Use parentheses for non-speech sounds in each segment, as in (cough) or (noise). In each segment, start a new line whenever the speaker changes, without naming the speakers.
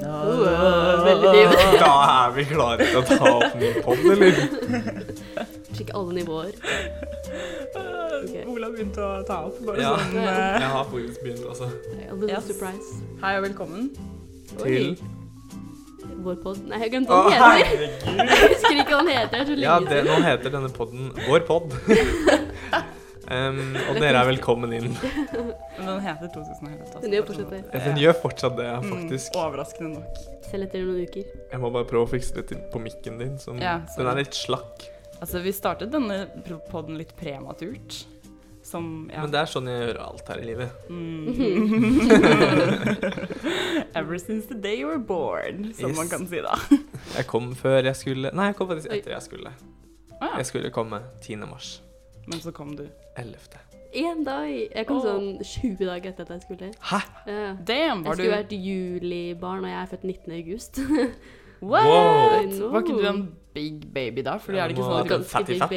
Veldig dyp.
Da er vi klare til å ta opp ny pod, eller?
Sjekke alle nivåer. (laughs) Ok.
Eh, Ola begynte å ta opp. Bare
Ja.
sånn eh,
Jeg har faktisk begynt, altså.
A little
Yes.
surprise.
Hei og velkommen.
Til
Vår pod. Nei, jeg glemte
Å,
hva den heter.
herregud!
Jeg husker ikke hva den heter. Det er så
Ja,
lenge
det, nå heter denne podden Vår
(laughs)
pod. Em, og dere er velkommen inn.
Men den heter 2011. altså.
Den gjør fortsatt det.
Den gjør fortsatt det,
Mm,
faktisk.
Overraskende nok.
Selv etter noen uker.
Jeg må bare prøve å fikse det til på mikken din. Som,
Ja, sånn. så-
den er litt slakk.
Altså, vi startet denne poden litt prematurt. Som ja.
(laughs)
Men det er sånn jeg gjør alt her i livet.
(laughs) Ever since the day you were born, som
Yes.
man kan si da.
Jeg kom før jeg skulle Nei, jeg kom faktisk
Oi.
etter jeg skulle.
Ah, ja.
Jeg skulle komme 10. mars.
Men så kom du.
11.
Én dag. Jeg
Åh.
kom sånn 20 dager etter at jeg skulle.
Hæ?
Ja.
Damn,
Jeg
var du
skulle vært julibarn, og jeg er født 19. august. (laughs)
What?
Wow.
I know.
Var ikke du en big baby da? Fordi
Ja,
er det ikke
må-
sånn
(laughs)
at du
Ganske
Fatty
big
fat.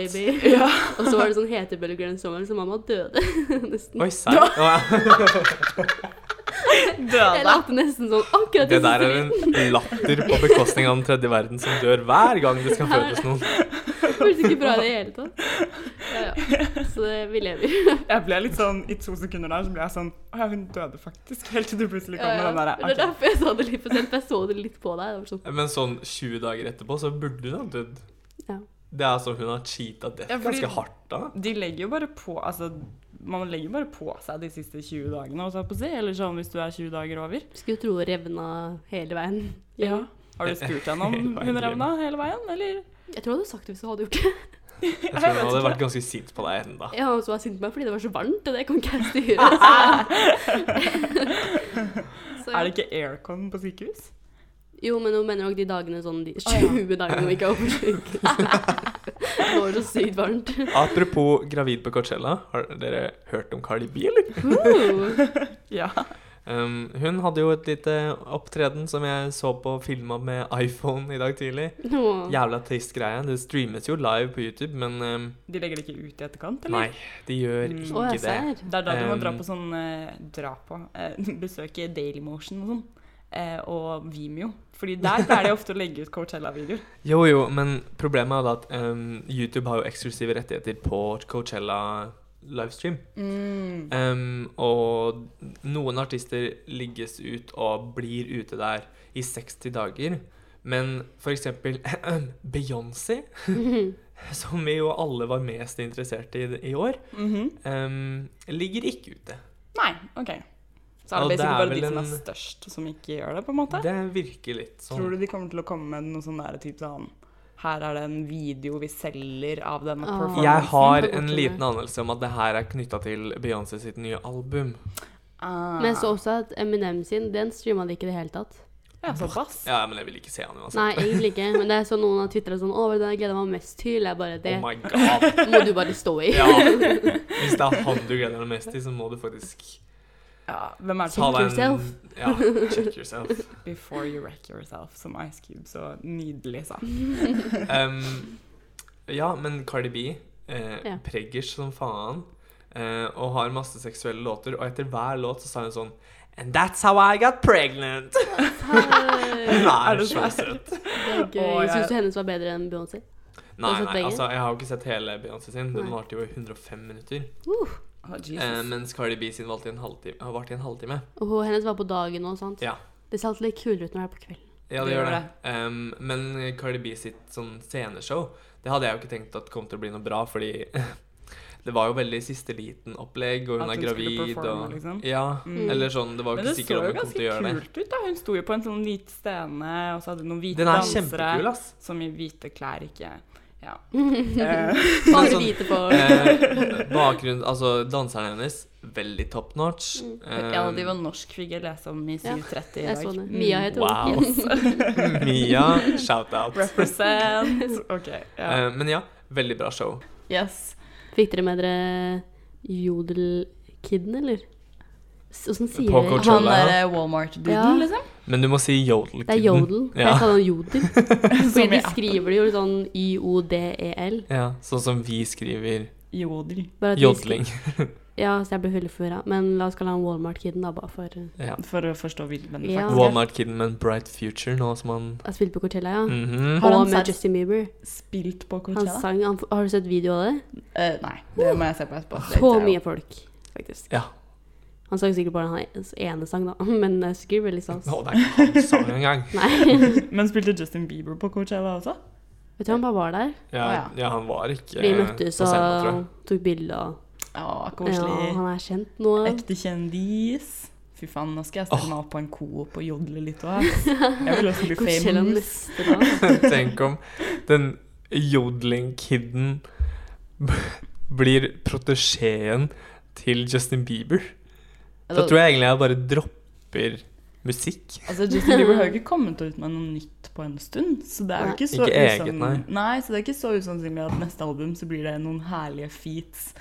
baby.
Ja.
(laughs) Og så var det sånn hetebølger den sommeren, så mamma døde (laughs) nesten.
Oi, serr? Å,
(laughs)
Jeg
døde?
lærte nesten sånn akkurat
Det
i
der
siste
er en latter på bekostning av den tredje verden som dør hver gang det skal fødes noen.
(laughs) Det føles ikke bra i det hele tatt. Ja,
(laughs)
ja. Så det, vi lever.
Jeg ble litt sånn, I to sekunder der så ble jeg sånn Å ja, hun døde faktisk. Helt til du plutselig kom
Ja, ja.
med den derre
Men Det er
«Ok,
derfor jeg sa det litt for sent, for jeg så det litt på deg. Det var sånn,
Men sånn 20 dager etterpå så burde hun ha dødd.
ja.
Det er altså hun har cheata death
Ja, fordi-
ganske hardt da.
De legger jo bare på altså, Man legger jo bare på seg de siste 20 dagene, holdt jeg på å si. Eller sånn hvis du er 20 dager over.
Skulle tro det revna hele veien.
Har du spurt henne om
Hele veien
hun revna hele veien, eller?
Jeg tror jeg hadde sagt det hvis du hadde gjort det.
(laughs)
Jeg tror hun hadde vært (laughs) ganske sint på deg enda.
Jeg var også sint på meg fordi det var så varmt, og det kan ikke jeg (laughs) styre. Så. altså. så
(laughs) Er det
ja.
ikke aircon på sykehus?
Jo, men hun mener òg de dagene sånn de
ja.
20 dagene hun ikke er (laughs) oversjuk. Det var så sykt varmt.
Apropos gravid på Coachella, har dere hørt om Cardi B, eller?
Uh,
Ja.
Um, hun hadde jo et lite opptreden som jeg så på filma med iPhone i dag tidlig.
nå.
Jævla trist greie. Det streames jo live på YouTube, men um,
De legger det ikke ut i etterkant, eller?
nei, de gjør
Mm.
Å, jeg
ikke det.
ser.
Det er da du må
Um,
dra på sånn eh, dra på, eh, (laughs) besøke Dailymotion og sånn. Eh, og Vimeo. Fordi der pleier de ofte å legge ut Coachella-videoer.
Jo, jo, men problemet er da at um, YouTube har jo eksklusive rettigheter på Coachella livestream.
Mm.
Um, og noen artister ligges ut og blir ute der i 60 dager. Men for eksempel (clears throat) Beyoncé, som vi jo alle var mest interessert i i år,
Mhm.
um, ligger ikke ute.
Nei, OK. Så er
Og
det
det
basically
er
bare de
vel
som er
en-
størst, som ikke gjør det, på en måte.
Det virker litt
Tror
sånn.
du de kommer til å komme med noe sånn der type sånn Her er det en video vi selger av denne
Ah.
performancen.
Jeg har
Fortell
en
meg.
liten anelse om at det her er knytta til Beyoncé sitt nye album.
Ah.
Men jeg så også at Eminem sin, den streama de ikke i det hele tatt.
Ja, såpass.
Ja, men jeg vil ikke se han uansett.
Nei, egentlig ikke. Men det er så noen har tvitra sånn 'Å, det er den jeg gleder meg mest til.' Jeg bare Det
Oh my god.
må du bare stå i.
(laughs) Ja. Hvis det er han du gleder deg mest til, så må du faktisk
Ja, hvem er det
ta
som
Check
deg en
yourself.
Ja, check yourself.
Before you wreck yourself, som Ice Cube så nydelig
Eh,
sa.
Um, ja, men Cardi B eh,
Ja.
preggers som faen eh, og har masse seksuelle låter, og etter hver låt så sa hun sånn And that's how I got pregnant!
Hei,
(laughs) Hun er
det
så søt.
Det er
Å,
gøy.
jeg-
Syns du hennes var bedre enn Beyoncé?
Nei,
sett
nei,
begge?
altså, jeg har jo ikke sett hele Beyoncé sin. Den
Nei.
varte jo i 105 minutter.
Uh,
Oh, Jesus.
Eh, mens Cardi B sin varte i en halvtime. har vart i en halvtime.
og hun- hennes var på dagen og sant?
Ja.
Det ser alltid litt kulere ut når det er på kvelden.
Ja, det,
Det
gjør
gjør
det. Ehm, men Cardi B sitt sånn sceneshow, det hadde jeg jo ikke tenkt at kom til å bli noe bra, fordi (laughs) det var jo veldig siste liten opplegg, og hun
At
er
hun skulle
gravid
performe,
og
liksom.
Ja,
Mm.
eller sånn, det var jo
Men det så
ikke sikkert om
jo
hun kom til å
ganske
gjøre det.
kult ut, da. Hun sto jo på en sånn hvit scene, og så hadde hun noen hvite
Den er
dansere.
kjempekul, ass.
Som i hvite klær ikke Ja.
(laughs) Bare
Eh, sånn-
lite på
Eh, (laughs) bakgrunn Altså, danserne hennes, veldig top notch.
ja, de var
Ehm,
norsk, fikk jeg lese om i
Ja,
7.30 i dag.
Jeg så det. Mia
Mm.
heter
Wow.
hun.
Mia,
(laughs)
shout-out.
Represent. OK. (laughs) Ja.
Eh, men ja, veldig bra show.
Yes.
Fikk dere med dere Jodelkidden, eller? S- Åssen sier
På
dere
Han
Coachella.
Han-
derre Walmart-duden,
Ja. (laughs)
liksom?
Men du må si Jodel.
Det er Jodel.
Ja.
Jeg kaller han Jodel.
(laughs)
Fordi
Som i
de skriver det jo litt sånn Y-O-D-E-L.
ja, sånn som vi skriver
Jodel.
E Bare at de
jodling.
Ja, så jeg ble veldig forvirra. Men la oss kalle han Walmart-kiden, da, bare for eh,
Ja.
For å forstå hvilken
Ja.
faktisk
Walmart-kiden med en bright future nå som han
Jeg spilte på Coachella, ja.
Mhm.
Har han
Og med
sett-
Justin Bieber.
er. Spilt på
Han
Coachella?
sang han, Har du sett video av det?
Eh, nei, det må jeg se på etterpå. Det
Så
tror jeg
mye folk, faktisk.
Ja.
Han sang sikkert bare hans ene sang, da. (laughs) Men det er sikkert veldig sans.
Å, det er ikke han sang engang.
Nei.
jo. (laughs) Men spilte Justin Bieber på Coachella også?
Vet du, han bare var der.
Ja,
Å,
ja, han var ikke
Vi
eh,
møttes
på
og
scenen, tror jeg. (laughs)
tok bilde og
Å,
Ja,
koselig.
han er kjent nå.
Ekte kjendis. Fy faen, nå skal jeg stille
Åh.
meg opp på en coop og jodle litt òg. Jeg vil
(laughs)
også bli
Coachella
famous.
neste
(laughs)
dag.
Tenk om den jodling-kiden (laughs) blir protesjeen til Justin Bieber. Da tror jeg egentlig jeg bare dropper musikk.
Altså, Justin Bieber har jo ikke kommet ut med noe nytt på en stund. Så det er jo
Nei.
ikke så,
Ikke eget,
usann-
nei.
Nei, så det er ikke så usannsynlig at neste album så blir det noen herlige feats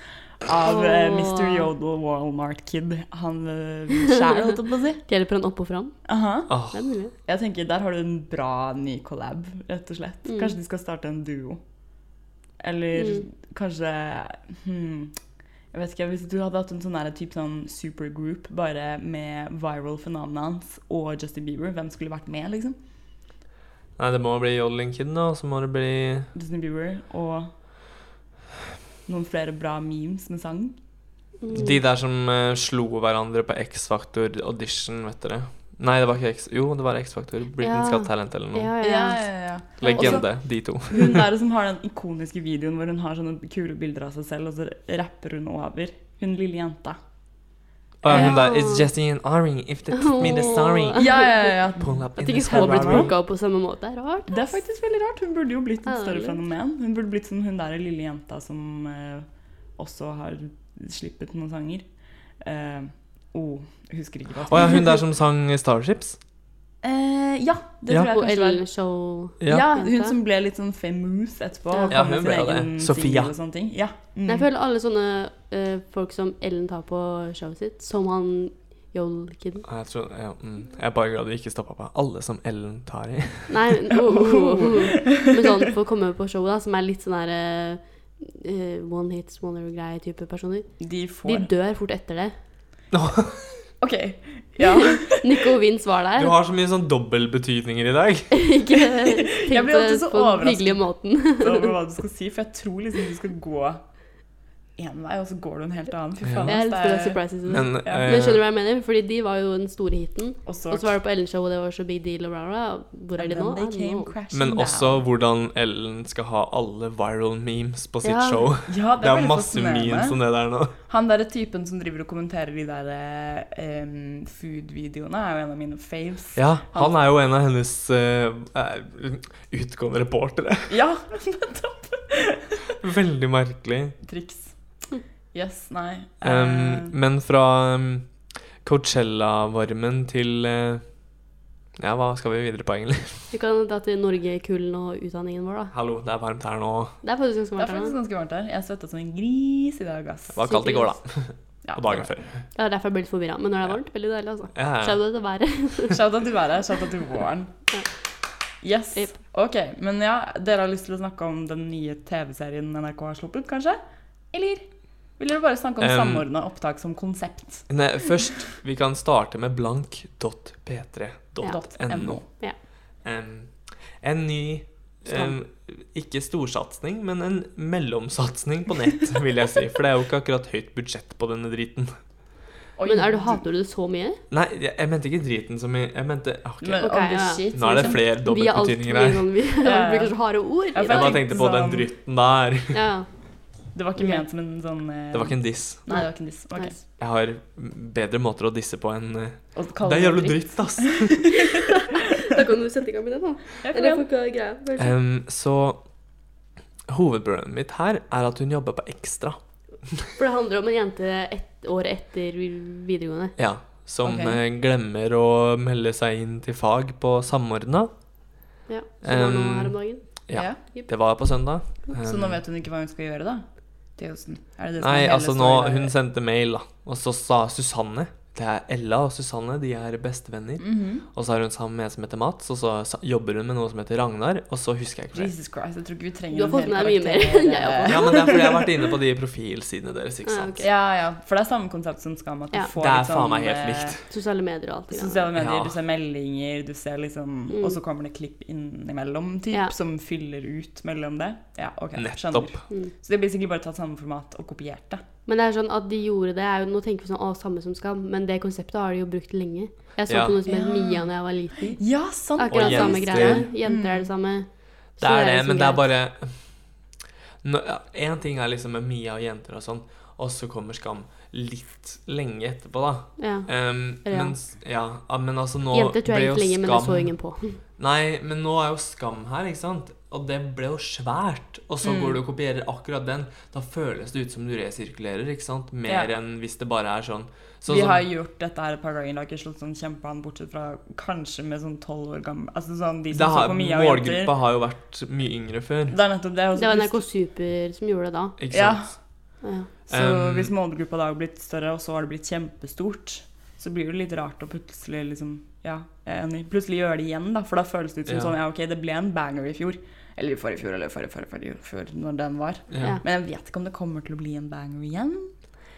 av eh,
Åh.
Mr. Yodel Walmart Kid. Han uh, sjæl, holdt jeg på å
(laughs)
si.
Det gjelder fra en opp og fram.
Aha.
Åh,
Det er mulig.
Jeg tenker, Der har du en bra ny collab, rett og slett.
Mm.
Kanskje de skal starte en duo. Eller kanskje hmm, Jeg vet ikke, Hvis du hadde hatt en sånn her type sånn supergroup bare med viral fenomena hans og Justin Bieber, hvem skulle vært med? liksom?
Nei, det må bli jodling-kiden, da. Og så må det bli
Justin Bieber og noen flere bra memes med sang.
Mm.
de der som eh, slo hverandre på X-Factor audition, vet dere. Nei, det var ikke X... Jo, det var X-Factor. Britain's
Ja.
Got Talent eller noe.
Ja, ja, ja.
ja.
Legende, de to.
Hun der som har den ikoniske videoen hvor hun har sånne kule bilder av seg selv, og så rapper hun over. Hun lille jenta.
Og hun
Ja.
der It's Jessie and Ari, if they took me the sorry.
Åh.
Ja, ja, ja, ja.
Pull up
At
in
ikke
this
så blitt
Ferrari.
plukka opp på samme måte, er rart.
Det er faktisk veldig rart. Hun burde jo blitt et større
Ærlig.
fenomen. Hun burde blitt som hun der lille jenta som eh, også har slippet noen sanger. Eh, oh, husker ikke hva
Å ja, hun der som sang Starships?
Eh, ja, det
Ja.
tror jeg
Og
kanskje det var. Mm.
Ellen-show.
Ja.
Ja.
hun som ble litt sånn famous etterpå. og
Ja,
kom med
hun
sin
ble det.
egen
Sofia.
single Og sånne ting. Ja. Mm.
Jeg føler alle sånne eh, folk som Ellen tar på showet sitt, som han Yol-kiden.
Jeg, tror, ja, mm, jeg er bare glad du ikke stoppa på alle som Ellen tar i. (laughs)
Nei, men, oh, oh, oh.
(laughs)
men sånn for å komme på showet, da, som er litt sånn derre one hits, wonder-greie type personer.
De
De
får
dør fort etter det.
OK.
(laughs)
Ja.
Nico Vince var der.
Du har så mye sånn dobbeltbetydninger i dag.
(laughs) Ikke
Jeg blir alltid
tenkt
så
på den
overrasket.
hyggelige måten.
Så over hva du skal si, for jeg tror liksom du skal gå én vei, og så går du en helt annen. Fy faen.
(laughs) Jeg er litt
ass,
full
det
av surprises. i det.
Men,
Ja.
Men skjønner du
eh,
hva jeg mener? Fordi de var jo den store hiten.
Og så
Og så var det på Ellen-show, og det var så big deal, og rah, rah. Hvor er de nå?
Then
I don't
they came
know.
crashing
men
down.
også hvordan Ellen skal ha alle viral memes på sitt
Ja.
show.
Ja,
Det er
veldig
masse
fascinerende.
memes om det der nå.
Han derre typen som driver og kommenterer de der eh, em, food-videoene, er jo en av mine faves.
Ja, han er jo en av hennes eh, eh, utgående reportere. (laughs)
Ja, (laughs) nettopp!
Veldig merkelig.
Triks. Yes, nei.
Um,
Eh,
men fra um, Coachella-varmen til eh, Ja, hva skal vi videre på, egentlig? (laughs)
Vi kan dra til Norge, kulden og utdanningen vår, da.
Hallo, det er varmt her nå.
Det er faktisk
det
ganske
er
varmt her
faktisk
nå.
ganske varmt her. Jeg svetta som en gris i dag, ass.
Det var kaldt i går, da.
Ja,
Og dagen før.
Det er derfor jeg ble litt forvirra. Men når det er varmt, veldig deilig, altså.
Ja, ja.
Shout out til været.
(laughs) Shout out til været, shout out til våren. Yes.
Yep.
Ok, men ja, dere har lyst til å snakke om den nye TV-serien NRK har sluppet, kanskje? Eller vil dere bare snakke om
Um,
samordna opptak som konsept?
Nei, først, vi kan starte med blank.p3.no.
.no.
Em, en ny
Stand.
em, Ikke storsatsing, men en mellomsatsing på nett, vil jeg si. For det er jo ikke akkurat høyt budsjett på denne driten.
Oi,
Men er du, hater du det så mye?
Nei, jeg, jeg mente ikke driten som i Jeg mente ah, ok,
Men,
Ok,
oh, the
ja.
shit,
Nå er det
liksom.
flere
Vi er alt
dobbeltbetydninger
mye
her.
sånn Vi (laughs)
Ja, ja.
bruker så harde ord
Ja, for
i
Jeg bare
dag.
jeg
tenkte på den
sånn-
drytten der.
Ja.
Det var ikke ment som en sånn eh,
Det var ikke en diss.
Nei, det var ikke en diss. Ok.
Nei.
Jeg har bedre måter å disse på enn eh,
Og kalle
Det er jævlig dritt, ass!
(laughs)
Da kan du sette i gang med det, da.
Jeg
Eller
kan-
får ikke greia.
Em, så hovedproblemet mitt her er at hun jobber på Ekstra.
For det handler om en jente ett år etter videregående.
Ja, som
Ok.
eh, glemmer å melde seg inn til fag på Samordna.
Ja. Som var nå
Um,
her om dagen.
Ja.
Ja.
Det var på søndag.
Så
Um,
nå vet hun ikke hva hun skal gjøre, da? Til høsten. Er det det som er
Nei,
hele
altså nå
storyen?
Hun sendte mail, da. Og så sa Susanne det er Ella og Susanne, de er bestevenner.
Mhm.
Og så er hun sammen med en som heter Mats, og så sa- jobber hun med noe som heter Ragnar, og så husker jeg ikke flere.
Jesus Christ, jeg tror ikke vi trenger
Du har fått
en hel
med deg mye mer
karakter-
enn jeg har
Eh, Ja, men det er fordi jeg har vært inne på de profilsidene deres, ikke
Ah,
sant.
(laughs)
ok.
Ja, ja. For det er samme konsept som Skam. At du
Ja.
får
Det er
litt sånn,
faen meg helt
eh,
likt.
Sosiale medier og alt det der.
Sosiale medier,
Ja.
du ser meldinger, du ser liksom
Mm.
Og så kommer det klipp innimellom, typ,
Ja.
som fyller ut mellom det. Ja, ok, skjønner.
Nettopp.
Mm.
Så de har basically bare tatt samme format og kopiert det.
Men det er sånn at de gjorde det er jo, Nå tenker vi sånn, å, samme som Skam, men det konseptet har de jo brukt lenge. Jeg så
Ja.
på noe som het
Ja.
Mia da jeg var liten.
Ja, sant!
Akkurat
Og
samme
jenter.
greia. Jenter er det samme.
Det er
liksom
det, men det er
greit.
bare Nå- ja, En ting er liksom med Mia og jenter og sånn, og så kommer Skam litt lenge etterpå, da.
ja.
Um,
Ja.
Mens, ja, ah, men altså nå
Jenter tror
ble
jeg
jo
gikk lenge, men det så
Skam-
ingen (laughs) på.
Nei, men nå er jo Skam her, ikke sant? Og det ble jo svært. Og så
Mm.
går du og kopierer akkurat den. Da føles det ut som du resirkulerer, ikke sant? Mer
Ja.
enn hvis det bare er sånn. Sånn
Vi
som-
har gjort dette her et par ganger, det har ikke slått sånn kjempean, bortsett fra kanskje med sånn tolv år gammel Altså sånn de
det
som så
har,
på Mia og jenter.
målgruppa har jo vært mye yngre før.
Det er nettopp det. og så
Det var
hvis-
NRK Super som gjorde det da.
Ikke
Ja.
sant?
Ja.
Så
Um,
hvis målgruppa da har blitt større, og så har det blitt kjempestort, så blir det litt rart å plutselig liksom Ja, jeg er enig. Plutselig gjøre det igjen, da, for da føles det ut som sånn
Ja.
Ja, OK, det ble en banger i fjor. Eller i forrige fjor, eller forrige, forrige, forrige fjor, når den var.
Ja.
Ja.
Men jeg vet ikke om det kommer til å bli en banger igjen.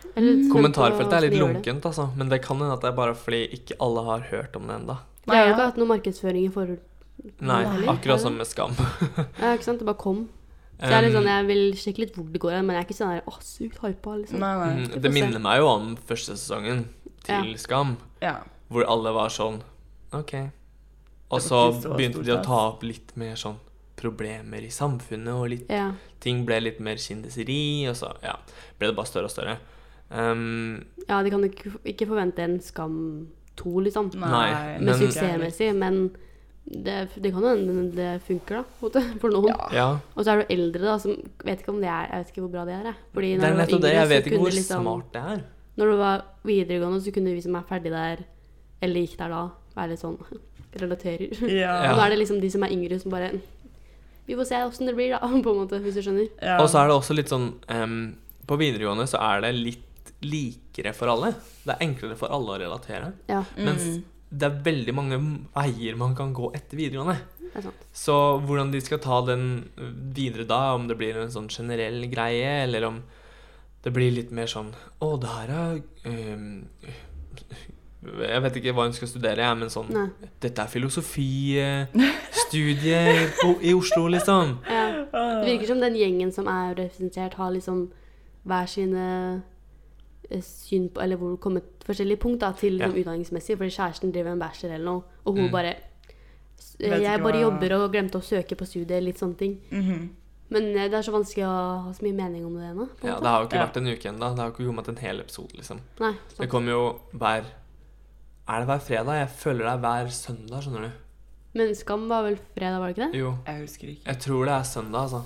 Jeg er litt spent på
Mm. Kommentarfeltet er
hvordan de
litt
gjør det.
lunkent, altså. Men det kan hende at det er bare fordi ikke alle har hørt om det
Det
ennå.
har jo
Nei,
ikke
ja.
hatt noe markedsføring i forhold
Nei,
Nei.
akkurat som med Skam.
Ja, ikke sant? Det bare kom. Så jeg er litt
Um,
sånn, jeg vil sjekke litt hvor det går, men jeg er ikke sånn der, åh, sykt hypa, liksom.
Nei, nei.
mm, det minner meg jo om første sesongen til Skam,
Ja.
hvor alle var sånn OK. Og
Det
så
var ikke så
begynte
stort,
de å
ass.
ta opp litt mer sånn problemer i samfunnet, og litt,
Ja.
ting ble litt mer kindeseri, og så ja, ble det bare større og større. Um,
ja, de kan jo ikke, ikke forvente en skam to, liksom.
Nei,
Med
men-
suksessmessig, men det, det kan jo hende det funker, da, på en måte, for noen.
Ja.
ja.
Og så er du eldre, da, som vet ikke om det er Jeg vet ikke hvor bra det er, jeg. Fordi
Det
når
er
du var
nettopp det.
yngre,
Jeg
så
vet ikke
kunne
hvor
liksom-
smart det er.
Når du var videregående, så kunne vi som er ferdig der, eller gikk der da, være litt sånn (laughs) relaterer.
Ja.
Og nå er det liksom de som er yngre, som bare Vi får se åssen det blir, da, (laughs) på en måte, hvis du skjønner.
Ja.
Og så er det også litt sånn em, På videregående så er det litt likere for alle. Det er enklere for alle å relatere.
Ja,
Mens det er veldig mange veier man kan gå etter videregående.
det er sant.
Så hvordan de skal ta den eh, videre da, om det blir en sånn generell greie, eller om det blir litt mer sånn Å, det her er em, Jeg vet ikke hva hun skal studere, jeg, men sånn
Nei.
Dette er filosofistudie i Oslo, liksom.
Ja.
Ah.
Det virker som den gjengen som er representert, har liksom hver sine eh, syn på Eller hvor det kommer forskjellige punkt da, til liksom,
Ja.
utdanningsmessig. Fordi kjæresten driver en bachelor eller noe, og hun
Mm.
bare s- eh,
Vet ikke
Jeg bare
hva-
jobber og glemte å søke på studiet, litt sånne ting.
Mhm.
Men eh, det er så vanskelig å ha så mye mening om det ennå. på en
Ja,
måte.
det har jo ikke
Ja.
vært en uke ennå. Det har jo ikke kommet en hel episode, liksom.
Nei,
Det
sant.
kommer jo hver Er det hver fredag? Jeg føler det er hver søndag, skjønner du.
Men Skam var vel fredag, var det ikke det?
Jo.
Jeg husker ikke.
Jeg tror det er søndag, altså.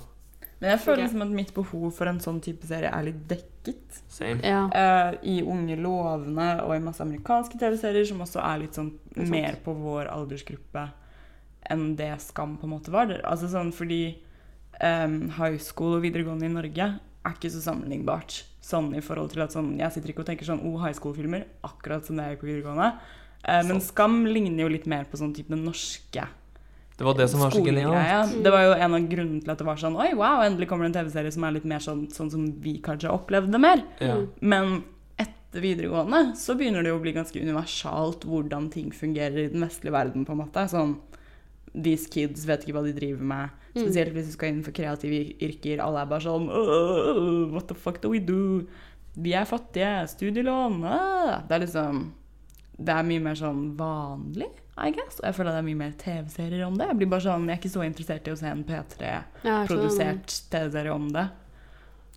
Men jeg føler
Ok.
liksom at mitt behov for en sånn type serie er litt dekket.
Same.
Ja.
Eh, I Unge lovende og i masse amerikanske TV-serier som også er litt sånn
er sant.
mer på vår aldersgruppe enn det Skam på en måte var. Det- Altså sånn fordi em, high school og videregående i Norge er ikke så sammenlignbart. Sånn i forhold til at sånn Jeg sitter ikke og tenker sånn oh, high school-filmer, akkurat som det jeg gjør på videregående. Eh, men
Sant.
Skam ligner jo litt mer på sånn type den norske
Det var det som var så genialt.
skolegreia. Det var jo en av grunnene til at det var sånn Oi, wow, endelig kommer det en TV-serie som er litt mer sånn, sånn som vi kanskje opplevde mer.
Ja.
Men etter videregående så begynner det jo å bli ganske universalt hvordan ting fungerer i den vestlige verden, på en måte. Sånn These kids vet ikke hva de driver med.
Mm.
Spesielt hvis du skal inn for kreative yrker. Alle er bare sånn «Åh, What the fuck do we do? Vi er fattige. Studielån. ah!» Det er liksom Det er mye mer sånn vanlig, I guess. Og jeg føler det er mye mer TV-serier om det. Jeg blir bare sånn Jeg er ikke så interessert i å se en P3-produsert
Ja, jeg sånn skjønner.
TV-serie om det.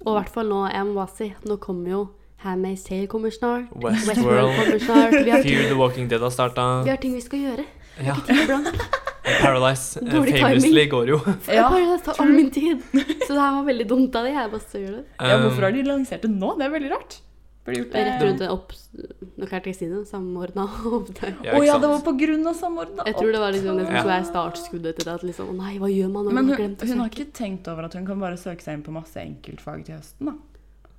Og i hvert fall nå, jeg må bare si, nå kommer jo Handmaid's Tale kommer snart. Westworld
Westworld,
kommer snart. Vi har,
Fear the Walking Dead har starta.
vi har ting vi skal gjøre.
Ja.
Tid
(laughs)
blant
Paradise eh,
Dårlig
famously
timing.
går jo.
Jeg
Ja,
bare tar all min tid. Så det her var veldig dumt av det. Jeg bare gjør det.
Ja, hvorfor har de lansert det nå? Det er veldig rart. Eh, Burde gjort det
Rett rundt en opp... Nå klarte jeg ikke å si det. Samordna opptak.
Um,
Å
Ja,
ja,
ikke sant?
det var på grunn av samordna
Jeg tror det var liksom det som
Ja.
skulle være startskuddet til det. At liksom, å nei, hva gjør man når
Men
man
hun,
har glemt å
hun har
snakke?
ikke tenkt over at hun kan bare søke seg inn på masse enkeltfag til høsten, da.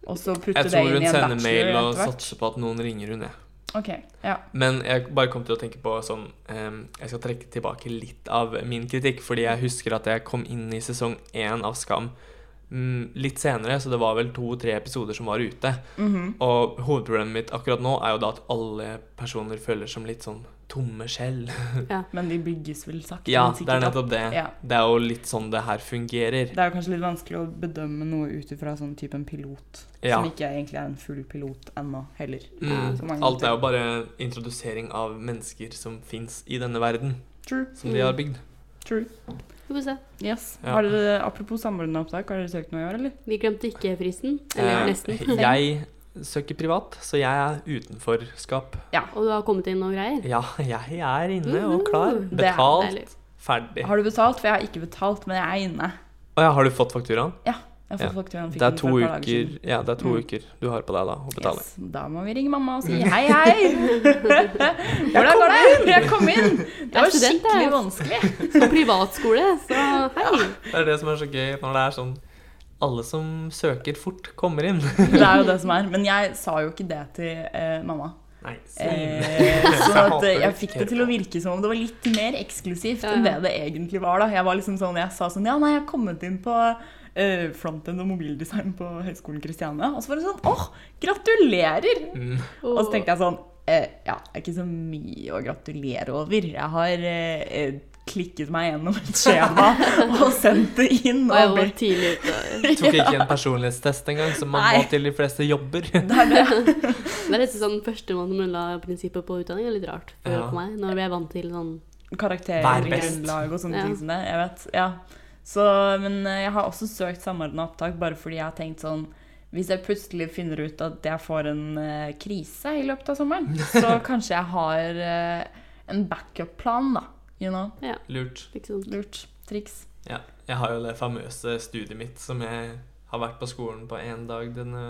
Og så putte det
Jeg tror
inn
hun
i en
sender
bachelor
mail og
etter hvert.
satser på at noen ringer hun, jeg.
OK. Ja.
Men jeg bare kom til å tenke på sånn ehm, Jeg skal trekke tilbake litt av min kritikk, fordi jeg husker at jeg kom inn i sesong én av Skam mm, litt senere, så det var vel to-tre episoder som var ute.
Mhm.
Og hovedproblemet mitt akkurat nå er jo da at alle personer føler som litt sånn tomme
(laughs)
skjell.
Men de bygges vel sakte,
Ja,
men
det er
sikkert opp.
nettopp det.
Ja.
Det er jo litt sånn det her fungerer.
Det er jo kanskje litt vanskelig å bedømme noe ut ifra sånn type en pilot,
Ja.
som ikke egentlig er en full pilot ennå heller. Så
Mm,
mange
alt er jo
ting.
bare introdusering av mennesker som fins i denne verden,
True.
som de har bygd.
True.
Vi får se.
Yes.
Ja.
Har dere, apropos samordna opptak, har dere søkt noe i år, eller?
Vi glemte ikke fristen.
Eh,
Eller nesten.
(laughs) Jeg søker privat, så jeg er utenforskap.
Og du har kommet inn noen greier.
Ja, jeg er inne og klar.
Uhu.
Det er
Betalt,
Deilig.
ferdig.
Har du betalt? For jeg har ikke betalt, men jeg er inne.
Å ja, har du fått fakturaen?
Jeg har fått fakturaen, fikk
Det er
den
to
for et par dager
uker
siden.
Ja, det er to
Mm.
uker du har på deg da å betale.
Yes. Da må vi ringe mamma og si hei, hei! Hvordan går det? Jeg kom inn! Det var
student, jeg.
skikkelig vanskelig.
Som privatskole, så hei.
Det er det som er så gøy når det er sånn alle som søker fort, kommer inn.
Det er jo det som er. Men jeg sa jo ikke det til eh, mamma.
(laughs) Nei, svin.
Eh, sånn at eh, jeg
hater
fikk det til å virke som om det var litt mer eksklusivt
Ja, ja.
enn det det egentlig var. da. Jeg var liksom sånn, jeg sa sånn Ja, nei, jeg har kommet inn på eh, frontend og mobildesign på Høgskolen Kristiania. Og så var det sånn Åh, gratulerer!
Mm.
Og så tenkte jeg sånn eh, Ja, det er ikke så mye å gratulere over. Jeg har eh, eh, klikket meg gjennom et skjema og sendt det inn.
Og jeg
Og
var
blitt
tidlig ute.
Tok ikke en personlighetstest engang, som man må
Nei.
til de fleste jobber. (laughs)
Det er litt sånn førstemann til mølla-prinsippet på utdanning. er Litt rart for
Ja.
for meg, når vi er vant til sånn
Vær best.
karaktergrunnlag og sånne
Ja.
ting som det. Jeg vet. Ja. Så, men eh, jeg har også søkt samordna opptak bare fordi jeg har tenkt sånn hvis jeg plutselig finner ut at jeg får en eh, krise i løpet av sommeren,
(laughs)
så kanskje jeg har eh, en backup-plan, da. You know?
Lurt.
ikke sånn.
Lurt triks.
Ja. Jeg har jo det famøse studiet mitt som jeg har vært på skolen på én dag denne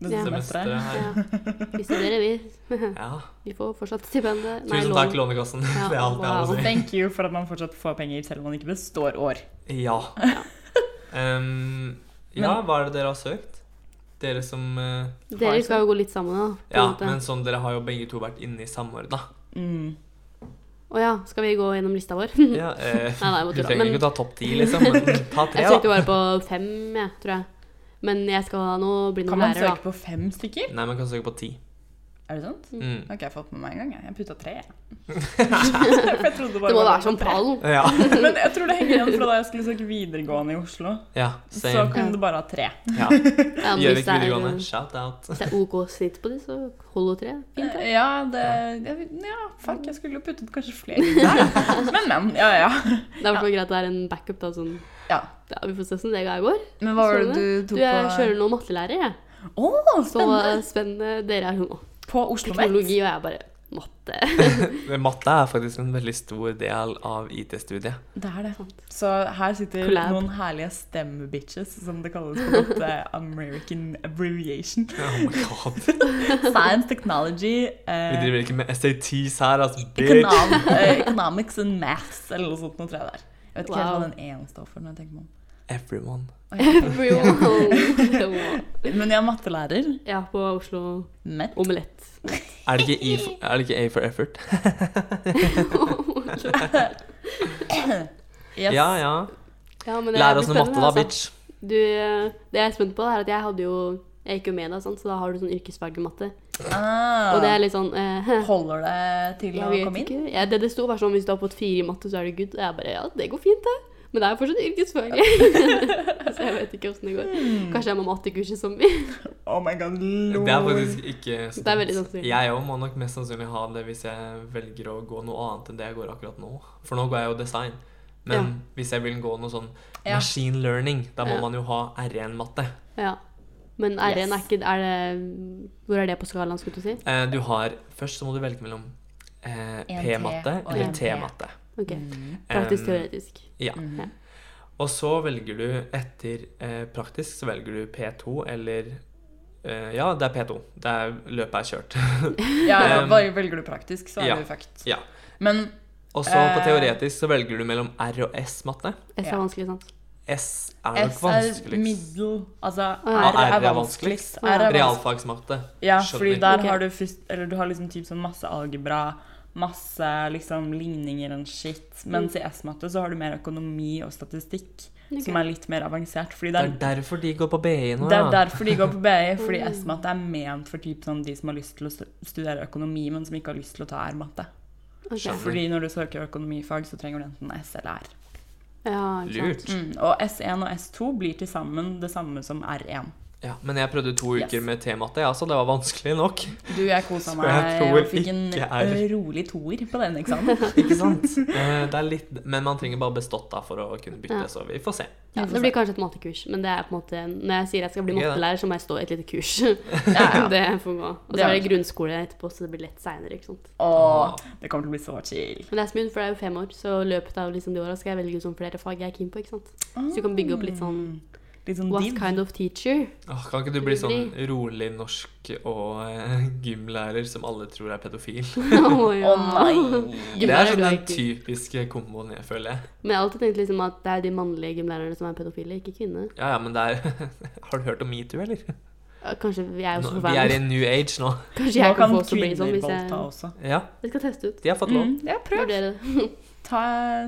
Det
Ja.
semesteret
semesteret.
her.
Ja. Vi studerer, vi. (laughs)
Ja.
Vi får fortsatt stipendet. Nei,
Tusen
lån.
takk, Lånekassen.
Ja,
(laughs) Det er alt jeg har å
wow.
si.
Thank you for at man fortsatt får penger selv om man ikke består år.
Ja. Ehm, ja, hva er det dere har søkt? Dere som eh,
Dere skal jo gå litt sammen, da. på
Ja,
en måte.
men sånn, dere har jo begge to vært inne i Samordna.
Mm.
Å ja, skal vi gå gjennom lista vår? (laughs)
Ja, eh,
Nei, nei, jeg må
du
tulla,
trenger
Mm. men-
ikke å ta topp ti, liksom, men ta
(laughs)
tre,
Jeg søkte
da.
bare på fem, jeg, tror jeg. Men jeg skal nå bli
Kan
noen
man
lærer, da.
søke på fem stykker?
Nei, man kan søke på ti.
Er det sant?
Mm.
Har ikke jeg fått med meg engang. jeg. Jeg putta (laughs) tre. jeg. For jeg trodde
Det må
var
være som pallen.
Mm. Ja.
Men jeg tror det henger igjen fra da jeg skulle søke videregående i Oslo.
ja
Så
same.
kunne
Ja.
du bare ha tre.
(laughs)
Ja.
Ja, men hvis
Gjøvik
det er-
videregående, shout out.
Hvis det er OK snitt på de, så holder tre. Fint, det.
Eh, Ja, det jeg- Ja, fuck, jeg skulle jo puttet kanskje flere inn (laughs) der. Men, men. Ja, ja.
Det er i hvert fall greit at det er en backup, da. Sånn.
Ja.
Ja, vi får se hvordan det går.
Men hva var
Så
det du
Du,
tok
jeg kjører
på eh,
nå mattelærer, jeg.
Å,
Så
spennende!
spennende. Dere er sånn «Åh,
På Oslo
teknologi, og jeg er bare matte. (laughs)
Men Matte er faktisk en veldig stor del av IT-studiet.
Det er det.
Sant.
Så her sitter
Collab.
noen herlige STEM-bitches, som det kalles på godt eh, American abbreviation.
(laughs) Oh my god.
Science, technology,
Vi
eh,
driver ikke med SATs her, altså. Bitch.
econom, eh, economics and maths, eller noe sånt. Noe tror jeg det er. Jeg vet ikke helt hva
Wow.
den ene står for. når jeg tenker meg om.
Everyone.
Everyone.
Men jeg er mattelærer.
Ja, på Oslo
Mett.
Omelett.
Er det ikke, E for, er det ikke A for effort?
Yes.
Ja, ja.
Ja, men det
Lær
blir
oss noe matte, da,
spennende, altså.
bitch.
Du, eh, det jeg er spent på, er at jeg hadde jo jeg gikk jo med deg, sant? så da har du sånn yrkesfaglig matte.
Ah,
Og det er litt sånn eh, (laughs)
Holder det til
Jeg
å
vet
komme inn?
ikke. Ja, det det sto var sånn hvis du har fått fire i matte, så er du good. Og jeg bare ja, det går fint, det. Men det er jo fortsatt yrkesfaglig. (laughs) så jeg vet ikke åssen det går.
Hmm.
Kanskje jeg må ha mattekurset som vi.
Oh my god,
Det
lol.
er faktisk ikke sant.
Det er veldig sannsynlig.
Jeg òg må nok mest sannsynlig ha det hvis jeg velger å gå noe annet enn det jeg går akkurat nå. For nå går jeg jo design. Men
Ja.
hvis jeg vil gå noe sånn
Ja.
machine learning, da må
Ja.
man jo ha R1-matte.
Ja. Men R1 er
Yes.
ikke er det, Hvor er det på skalaen, skulle du si?
Eh, du har Først så må du velge mellom eh,
En
P-matte
T og
eller
en P.
T-matte.
Ok,
Mm.
Praktisk
Um,
teoretisk.
Ja.
Mhm.
Og så velger du etter eh, praktisk, så velger du P2 eller eh, Ja, det er P2. Det er løpet er kjørt.
Ja, ja,
Um,
bare velger du praktisk, så er
ja.
du fucked.
ja.
Men
Og så på
Eh.
teoretisk så velger du mellom R og S-matte.
S er
ja.
vanskelig, sant?
S er nok
S er
vanskeligst.
middel. Altså
Ja,
R
R
er
Ah, er
vanskeligst.
vanskeligst.
R er vanskelig.
Realfagsmatte.
Ja,
Skjønner.
fordi der
Ah, Ok.
har du først Eller du har liksom typ sånn masse algebra, masse liksom ligninger og shit. Mens i S-matte så har du mer økonomi og statistikk,
Mm. Ok.
som er litt mer avansert. Fordi
Det
det er
er derfor de går på BI nå,
Det er
ja.
derfor de går på BI, fordi
Mm.
S-matte er ment for typ sånn de som har lyst til å stu- studere økonomi, men som ikke har lyst til å ta R-matte.
Ok.
Skjønner.
Fordi når du søker økonomifag, så trenger du enten S eller R.
Ja, ikke sant.
Lurt.
Mm. Og S1 og S2 blir til sammen det samme som R1.
Ja, men jeg prøvde to
Yes.
uker med tematte, ja, så det var vanskelig nok. (laughs)
Du, jeg kosa
Så
meg
jeg tror
og fikk en
ikke R.
rolig toer på den eksamen.
(laughs)
Ikke sant? Eh, Det er litt, men man trenger bare bestått da for å kunne bytte,
Ja.
så vi får se.
Ja, det blir kanskje et mattekurs, men det er på en måte når jeg sier jeg skal bli
Ja.
mattelærer, så må jeg stå i et lite kurs.
Ja, ja.
(laughs) det får gå. Og
Det
så
er
er det grunnskole etterpå, så det blir lett seinere, ikke sant.
Ah.
Åh, det kommer til å bli så chill.
Men det er smooth, for det er jo fem år, så i løpet av liksom de åra skal jeg velge ut sånn flere fag jeg er keen på, ikke sant. Så du kan bygge opp litt sånn
Litt sånn
What
div.
kind of
(laughs)
teacher? (laughs)
Åh, kan ikke du bli sånn rolig norsk og eh, gymlærer som alle tror er pedofil?
Å,
Å
ja.
nei!
Det er
(laughs) Gymlærer,
sånn
du er
den
ikke-
typiske komboen jeg føler.
Men jeg har alltid tenkt liksom at det er de mannlige gymlærerne som er pedofile, ikke kvinner.
Ja, ja, men det er (laughs) Har du hørt om metoo, eller?
Ja, Kanskje vi er jo
Nå,
så
vi er i
forferdelig.
en new age nå.
Kanskje
Nå
jeg kan
kan
få også bli sånn
kvinner
hvis
voldta
jeg
også.
Ja,
Vi skal teste ut.
de har fått lov.
Mm, ja, prøv.
Vurdere det.
Ta,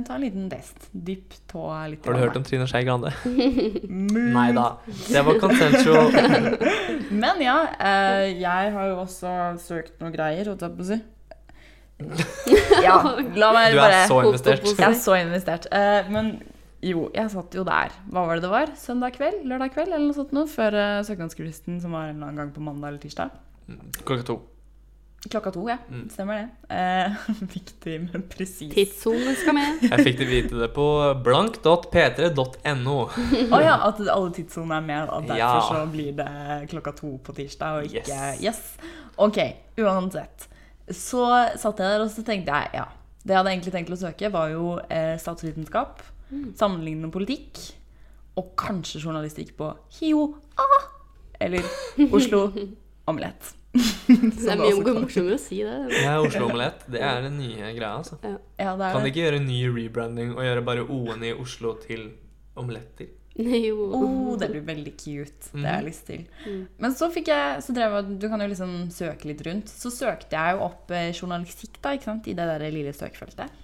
ta en liten test. Dypp tåa litt. Mm.
Har du
i
hørt om Trine Skei Grande?
vannet.
Nei da. Sånn Det var
(laughs)
consensual.
Men ja, eh, jeg har jo også søkt noe greier, holdt jeg på å si.
(laughs)
Ja, la meg
Du er
bare
så investert.
Jeg er så investert. Eh, men jo, jeg satt jo der. Hva var det det var? Søndag kveld? Lørdag kveld? Eller noe sånt noe, før uh, søknadsfristen, som var en eller annen gang på mandag eller tirsdag.
Klokka to.
Klokka to, ja.
Mm.
Stemmer det. Eh, (laughs) viktig, men presis.
Tidssonen
(laughs)
skal med.
Jeg fikk det vite det på blank.p3.no.
Å ja, at alle tidssonene er med, og derfor
Ja.
så blir det klokka to på tirsdag, og ikke
Yes.
Yes. OK, uansett. Så satt jeg der, og så tenkte jeg ja. Det jeg hadde egentlig tenkt å søke, var jo eh, statsvitenskap, sammenlignende politikk og kanskje journalistikk på HiO A eller Oslo Omelett. (laughs)
Det er mye morsommere å si det.
Det er Oslo Omelett. Det er den nye greia, altså.
Ja, det er
Kan de
det.
ikke gjøre en ny rebranding og gjøre bare O-en i Oslo til omeletter?
Jo.
Mm.
Oh, det blir veldig cute. Det har jeg lyst til.
Mm.
Men så fikk jeg så drev jeg, Du kan jo liksom søke litt rundt. Så søkte jeg jo opp eh, journalistikk da, ikke sant? i det der lille søkefeltet.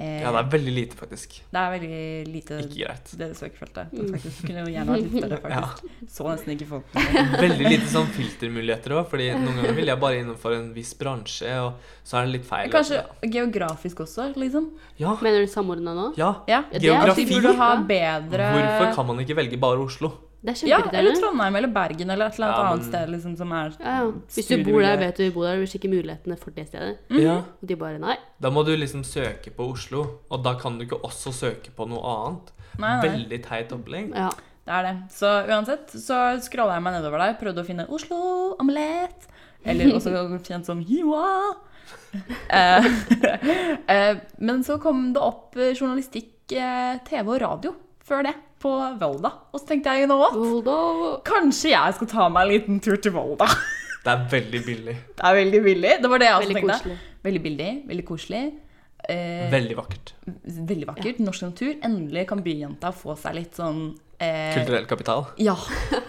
Eh,
Ja, det er veldig lite, faktisk.
det er veldig lite
Ikke Mm. greit.
det søkefeltet. Det faktisk kunne jo gjerne vært litt
(laughs)
større, faktisk. Så nesten ikke folk noe.
Veldig lite sånn filtermuligheter òg, fordi noen ganger vil jeg bare innenfor en viss bransje, og så er det litt feil.
Kanskje geografisk også, liksom.
Ja.
Mener du samordna nå?
ja.
Ja.
Ja, det er
Geografi.
At de burde ha bedre
Hvorfor kan man ikke velge bare Oslo?
Det er
ja, eller
kjempeirriterende.
Trondheim eller Bergen eller et eller annet
Ja, men-
annet sted liksom, som er
Ja, ja. Hvis du bor der, vet du du bor der, du vil sjekke mulighetene for det stedet.
Ja.
Og de bare nei.
Da må du liksom søke på Oslo, og da kan du ikke også søke på noe annet.
Nei, nei.
Veldig teit opplegg.
Ja.
Det er det. Så uansett så scrolla jeg meg nedover der, prøvde å finne Oslo omelett, eller også kjent som Hiwa. (laughs) Eh, eh, men så kom det opp eh, journalistikk, eh, TV og radio før det, på Volda. Og så tenkte jeg, you know what?
Hold on.
Kanskje jeg skal ta meg en liten tur til Volda. (laughs)
Det er veldig billig.
Det er veldig billig. Det var det jeg også
Veldig
tenkte.
koselig.
Veldig billig, veldig koselig. Eh,
Veldig vakkert.
veldig vakkert. Norsk natur. Endelig kan byjenta få seg litt sånn eh,
Kulturell kapital.
Ja.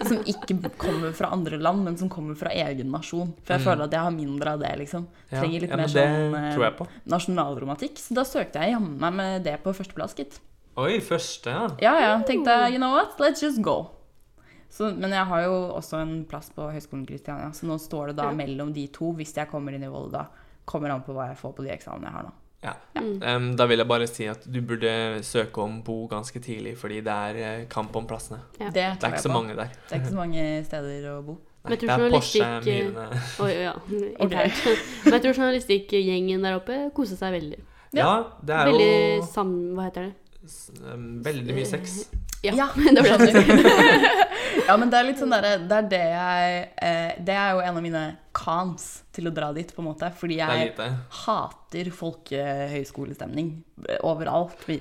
Som ikke kommer fra andre land, men som kommer fra egen nasjon. For jeg
Mm.
føler at jeg har mindre av det, liksom.
Ja,
Trenger litt
ja, men
mer
det
sånn eh,
tror jeg på.
nasjonalromantikk. Så da søkte jeg jammen meg med det på førsteplass, gitt.
Oi, første, ja.
Ja, ja. Tenkte jeg, you know what, let's just go. Så, men jeg har jo også en plass på Høgskolen Kristiania, så nå står det da
Ja.
mellom de to hvis jeg kommer inn i Volda. Kommer an på hva jeg får på de eksamene jeg har nå.
Ja.
Mm.
Em, da vil jeg bare si at du burde søke om bo ganske tidlig, fordi det er eh, kamp om plassene.
Ja.
Det,
Det er ikke så mange der.
Det er ikke så mange steder å bo.
Men jeg tror
det er Porsche,
journalistikk, eh,
myrene
Oi, oi,
(laughs)
ja. Internt. Men jeg tror journalistikkgjengen der oppe koste seg veldig.
Ja, det er
Veldig
jo
sam... Hva heter det?
s- em, veldig mye sex.
Ja,
Ja. (laughs) det ble det.
(laughs) Ja, men det er litt sånn derre Det er det jeg eh, Det er jo en av mine cons til å dra dit, på en måte. Fordi
Det er
jeg
lite.
hater folkehøyskolestemning eh, overalt. Vi-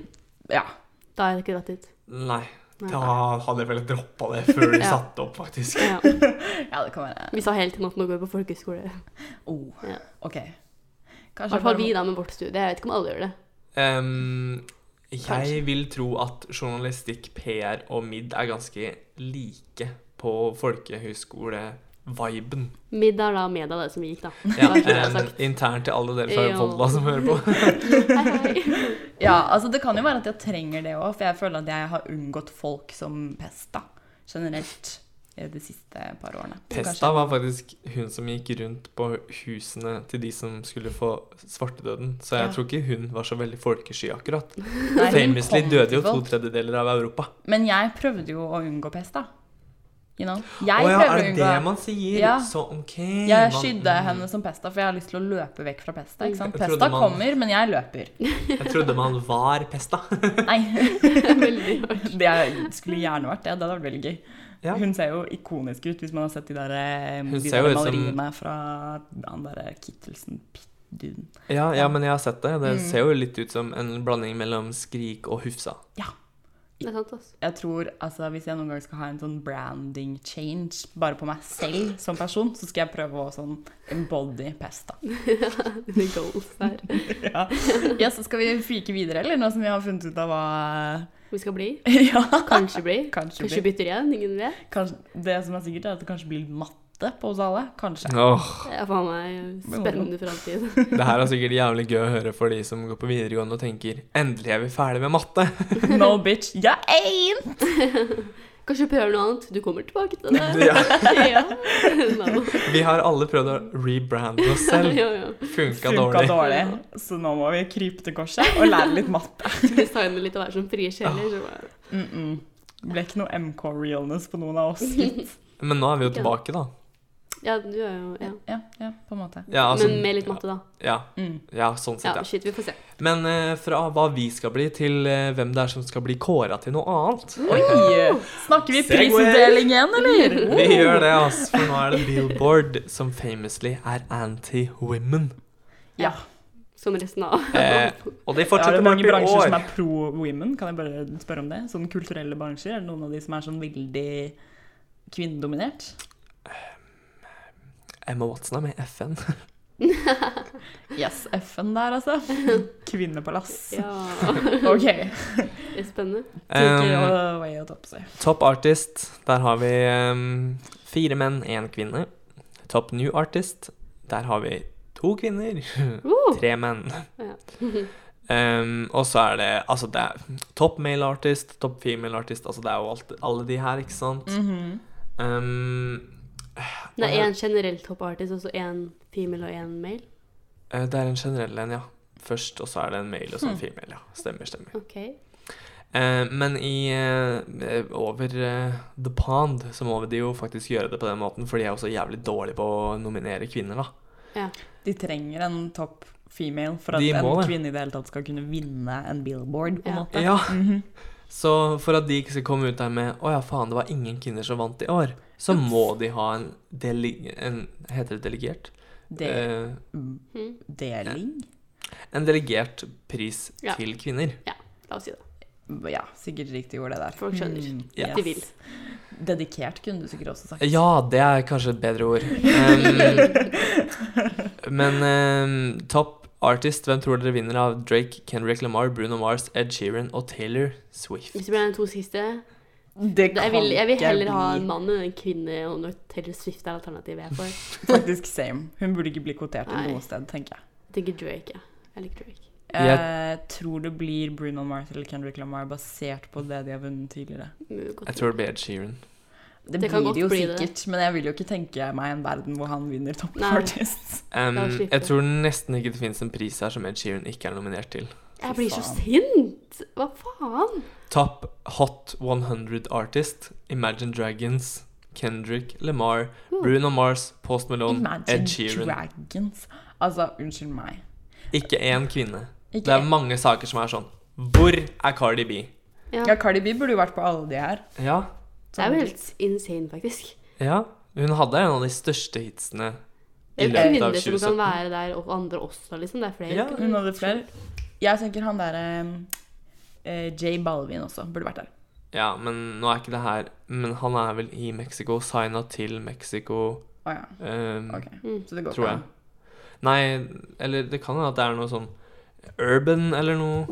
Ja.
Da er det ikke dratt dit.
Nei.
Nei.
Da hadde jeg vel droppa det før de
Ja.
satte opp, faktisk.
Ja.
ja, det kan være
Vi sa hele tiden at nå går vi på folkehøyskole. I
oh,
Ja.
OK. Kanskje
hvert fall vi da med vårt studie. Jeg vet ikke om alle gjør det.
Em, Ehm, Jeg
Kanskje.
vil tro at journalistikk, PR og MID er ganske like på folkehøyskole-viben.
Midd er da med av det som vi gikk, da.
Ja, um,
Bare så det er
em,
sagt.
internt til alle dere fra
Ja.
Volda som hører på.
Hei, hei.
Ja, altså Det kan jo være at jeg trenger det òg, for jeg føler at jeg har unngått folk som pest da, generelt eh, de siste par årene. Så
Pesta
kanskje-
var faktisk hun som gikk rundt på husene til de som skulle få svartedøden, så jeg
Ja.
tror ikke hun var så veldig folkesky akkurat.
Nei, hun
Famously
kom
døde
til
jo to
folk.
tredjedeler av Europa.
Men jeg prøvde jo å unngå pest, da. You know?
Å
Jeg
ja,
prøver
er
å
det
unngå
det man sier?
Ja.
Så ok.
Jeg
man-
skydde
mm.
henne som pesta, for jeg har lyst til å løpe vekk fra pesta. ikke sant?
Jeg trodde
Pesta
man-
kommer, men jeg løper.
Jeg trodde man var
(laughs)
pesta.
Nei.
Veldig
(laughs)
hardt.
Det er- skulle gjerne vært det. Det hadde vært veldig gøy.
Ja.
Hun ser jo ikonisk ut, hvis man har sett de der, eh,
Hun
de
ser
der
jo ut som-
maleriene fra han derre Kittelsen Pitt-duden.
Ja, ja, men jeg har sett det. Det
Mm.
ser jo litt ut som en blanding mellom Skrik og Hufsa.
Det er sant, altså.
Jeg tror, altså Hvis jeg noen gang skal ha en sånn branding change bare på meg selv som person, så skal jeg prøve å sånn embody pesta.
Dine goals der.
Ja. Yes, skal vi fyke videre, eller? Nå som vi har funnet ut av hva (laughs)
Vi skal bli.
Ja,
Kanskje bli.
kanskje,
Kanskje
blir,
bytter igjen. Ingen vet.
kanskje Det som er sikkert, er at det kanskje blir matte på oss alle. Kanskje.
Åh,
Det er faen meg spennende framtid.
Det her er sikkert jævlig gøy å høre for de som går på videregående og tenker 'endelig er vi ferdig med matte'.
No bitch. Ja, ein!
Kanskje prøver noe annet. Du kommer tilbake til det.
Ja.
(laughs) ja. No.
Vi har alle prøvd å rebrande oss selv.
Ja, ja.
Funka
Funka
dårlig.
dårlig. Så nå må vi krype til korset og lære litt matte.
Designe litt og være som frie sjeler. så bare-
Mm -mm. Ble ikke noe MK-realness på noen av oss. gitt.
Men nå er vi jo tilbake, da.
Ja, du er jo (laughs) ja.
Ja, ja, på en måte.
Ja, altså-
Men med litt matte, da.
Ja,
Mm.
ja sånn sett,
Ja,
ja.
shit, vi får se.
Men eh, fra hva vi skal bli, til eh, hvem det er som skal bli kåra til noe annet.
Oi! Snakker vi
Segway.
prisutdeling igjen, eller?
(laughs) Vi gjør det, altså, for nå er det Billboard som famously er anti-women.
Ja.
Som resten av (laughs)
Eh, og de
Er
fortsetter
det mange
med i
bransjer som
år.
er pro women? Kan jeg bare spørre om det? Sånn kulturelle bransjer? Er det noen av de som er sånn veldig kvinnedominert?
Emma Watson er med
(laughs)
i FN.
Yes, FN der, altså. (laughs) Kvinnepalass.
(laughs) Ja.
OK.
Det er spennende.
Take it
Um,
away og topp seg.
Top Artist, der har vi ehm, fire menn, én kvinne. Top New Artist, der har vi to kvinner, (laughs)
Uh,
tre menn.
Ja.
Ehm, og så er det altså det er top male artist, top female artist altså Det er jo alt, alle de her, ikke sant?
Mhm.
eh, Ehm,
Mm. det er én generell top artist, og så én altså female og én male.
eh, det er en generell en, ja. Først, og så er det en male og så en
Mm.
female. ja Stemmer, stemmer.
Ok.
Eh, men i eh, over eh, The Pond så må vi jo faktisk gjøre det på den måten, for de er jo så jævlig dårlige på å nominere kvinner, da.
Ja.
De trenger en topp female for at
De
en
må det.
kvinne i det hele tatt skal kunne vinne en billboard, på en
Ja.
måte.
Ja,
Mhm.
Så for at de ikke skal komme ut der med 'Å ja, faen, det var ingen kvinner som vant i år', så må de ha en, dele en Heter det delegert?
De
Eh,
Hm,
deling?
en delegert pris
Ja.
til kvinner.
la oss si det.
Ja, sikkert riktig ord det der.
Folk skjønner.
Mm,
Ja.
De vil.
Dedikert kunne du sikkert også sagt.
Ja, det er kanskje et bedre ord.
(laughs)
Um, Em, men em, top artist, hvem tror dere vinner av Drake, Kendrick Lamar, Bruno Mars, Ed Sheeran og Taylor Swift?
Hvis det blir de to siste
Det
Jeg vil, jeg vil
ikke
heller ha en
bli
mann enn en kvinne, og når Taylor Swift er alternativet jeg er for.
Faktisk same. Hun burde ikke bli kvotert
Nei.
noe sted, tenker jeg.
Jeg tenker Drake, jeg. Jeg liker Drake.
Jeg tror det blir Bruno Mars eller Kendrick Lamar basert på det de har vunnet tidligere.
Mye godt.
Jeg tror det blir Ed Sheeran.
Det,
Det kan
blir
godt
det jo
bli det.
sikkert, men jeg vil jo ikke tenke meg en verden hvor han vinner Top
Nei.
Artist.
Em,
La oss slippe.
Um, jeg tror nesten ikke det finnes en pris her som Ed Sheeran ikke er nominert til.
Jeg blir så
faen.
sint! Hva faen?
Top Hot 100 Artist, Imagine Dragons, Kendrick Lamar, Bruno Mars, Post Malone, Ed
Imagine
Sheeran.
Dragons. Altså, unnskyld meg.
Ikke én kvinne.
Ikke
Det er mange saker som er sånn. Hvor er Cardi B?
Ja, Cardi B burde jo vært på alle de her.
Ja,
Det er jo helt insane, faktisk.
ja. Hun hadde en av de største hitsene
Det
i
er
løpet av
kvinner som kan
2017.
være der, og andre også, liksom. Det er flere.
Ja.
kvinner.
Sånn, Hun hadde flere. Jeg tenker han derre eh, J Balvin også burde vært der.
Ja, men nå er ikke det her Men han er vel i Mexico, signa til Mexico
Å ja.
ehm,
Mm.
Ok. Så det går ikke
Tror jeg.
an.
Nei, eller det kan hende at det er noe sånn Urban eller noe?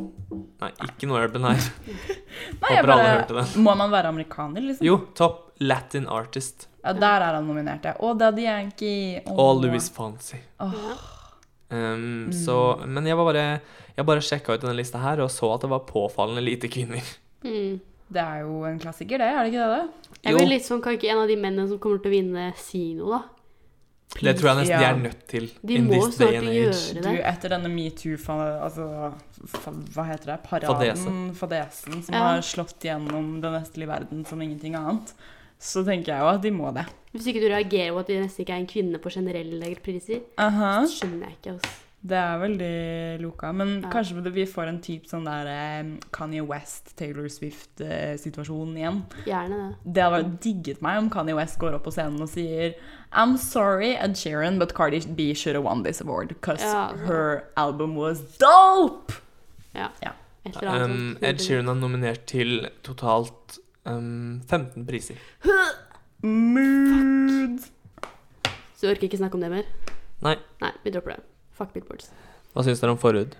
Nei, ikke noe
(laughs)
urban her.
Nei, jeg
Håper alle
bare-
hørte det.
Må man være amerikaner, liksom?
Jo, topp Latin artist.
Ja, der er han nominert, ja. Og Daddy Yankee. Å,
Og Louis Fonsi.
Ja. Mm.
Um, så, men jeg var bare Jeg bare sjekka ut denne lista her og så at det var påfallende lite kvinner.
Mm.
Det er jo en klassiker, det. Er det ikke det? det?
Jeg
Jo.
blir litt sånn, Kan ikke en av de mennene som kommer til å vinne, si noe, da?
Det tror jeg nesten de
Ja.
er nødt til.
De
in
må
this
snart
day and
gjøre
age.
det.
Du, etter denne metoo-fasen altså, fa- Hva heter det? Paraden,
Fadese.
fadesen, som
Ja.
har slått gjennom den vestlige verden som ingenting annet, så tenker jeg jo at de må det.
Hvis ikke du reagerer på at det nesten ikke er en kvinne på generelle priser,
Aha.
skjønner jeg ikke. Altså.
Det er veldig lukka. Men
Ja.
kanskje vi får en type sånn der eh, Kanye West, Taylor Swift-situasjon igjen.
Gjerne det.
Det hadde vært- digget meg om Kanye West går opp på scenen og sier I'm sorry, Ed Sheeran, but Cardi B should have won this award because
Ja.
her album was dope!
Ja.
Ja.
Et eller annet
Um,
sånt.
Ed Sheeran er nominert til totalt um, 15 priser.
Mood!
Så vi orker ikke snakke om det mer?
Nei.
Nei, vi dropper det. Fuck billboards.
Hva syns dere om forhud?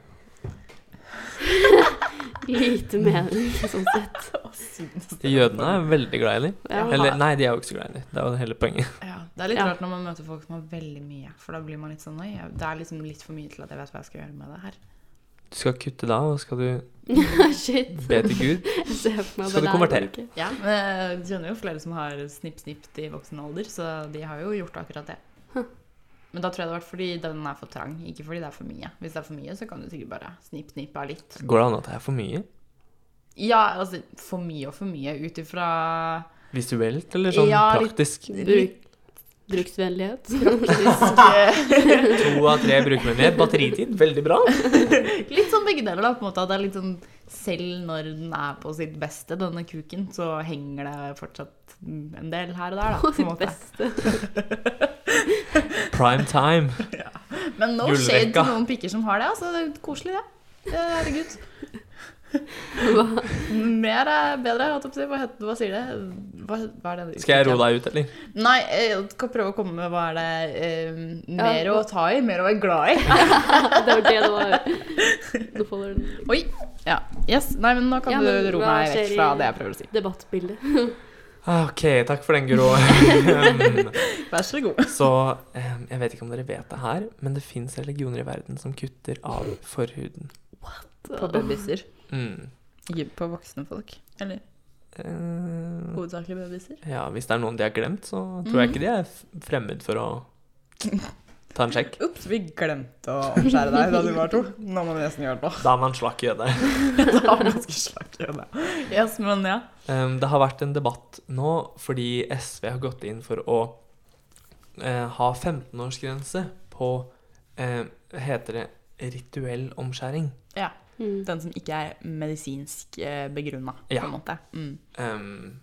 Lite
(laughs)
mening, sånn sett.
Jødene er veldig glad i dem.
Ja.
Eller
(laughs)
nei, de er jo ikke så glad i dem. Det er jo hele poenget.
Ja, det er litt
Ja.
rart når man møter folk som har veldig mye, for da blir man litt sånn Oi, jeg- det er liksom litt for mye til at jeg vet hva jeg skal gjøre med det her.
Du skal kutte da, og skal du
Shit.
be til Gud.
Jeg ser for meg
Skal
det
du
der går
konvertere?
ikke.
Ja, men jeg kjenner jo flere som har snipp-snipp i voksen alder, så de har jo gjort akkurat det. Men da tror jeg det har vært fordi den er for trang, ikke fordi det er for mye. Hvis det er for mye, så kan du sikkert bare snipp-snippe av litt.
Går det an at det er for mye?
Ja, altså for mye og for mye ut ifra
Visuelt eller sånn
Ja, litt-
praktisk?
Bruk, bruksvennlighet.
To av tre brukervennlige. Batteritid, veldig bra.
Litt sånn begge deler, da. på en måte at det er litt sånn Selv når den er på sitt beste, denne kuken, så henger det fortsatt en del her og der, da.
På
på en
sitt
måte.
beste. (laughs)
Prime time.
Men no shade
Gullrekka.
til noen pikker som har det. altså Det er koselig, det. Det er- Herregud.
Hva?
Mer er bedre. holdt jeg på å si. Hva, heter, hva sier det? Hva, hva er det?
Skal jeg roe deg ut, eller?
Nei, eh, jeg skal prøve å komme med hva er det eh, mer
Ja.
å ta i, mer å være glad i.
Det var det det var. Nå faller den.
Oi. Ja. Yes. Nei, men nå kan
Ja, men
du ro
hva
meg
skjer
vekk
i-
fra det jeg prøver å si.
Debattbildet.
Ah, OK, takk for den, Guro. Um,
Vær så god.
Så eh, jeg vet ikke om dere vet det her, men det fins religioner i verden som kutter av forhuden.
På babyer.
Mm.
På voksne folk. Eller
Eh,
hovedsakelig babyer.
ja, hvis det er noen de har glemt, så tror jeg ikke de er f- fremmed for å ta en sjekk.
Ops, vi glemte å omskjære deg da du var to. Nå må vi nesten gjøre
(laughs)
det.
Da er man slakk jøde.
Det er ganske slakt i det.
Yes, men ja.
Um, det har vært en debatt nå fordi SV har gått inn for å eh, ha 15-årsgrense på eh, Heter det rituell omskjæring?
Mm. (laughs)
Den som ikke er medisinsk begrunna,
Ja.
på en måte. Mm.
Um,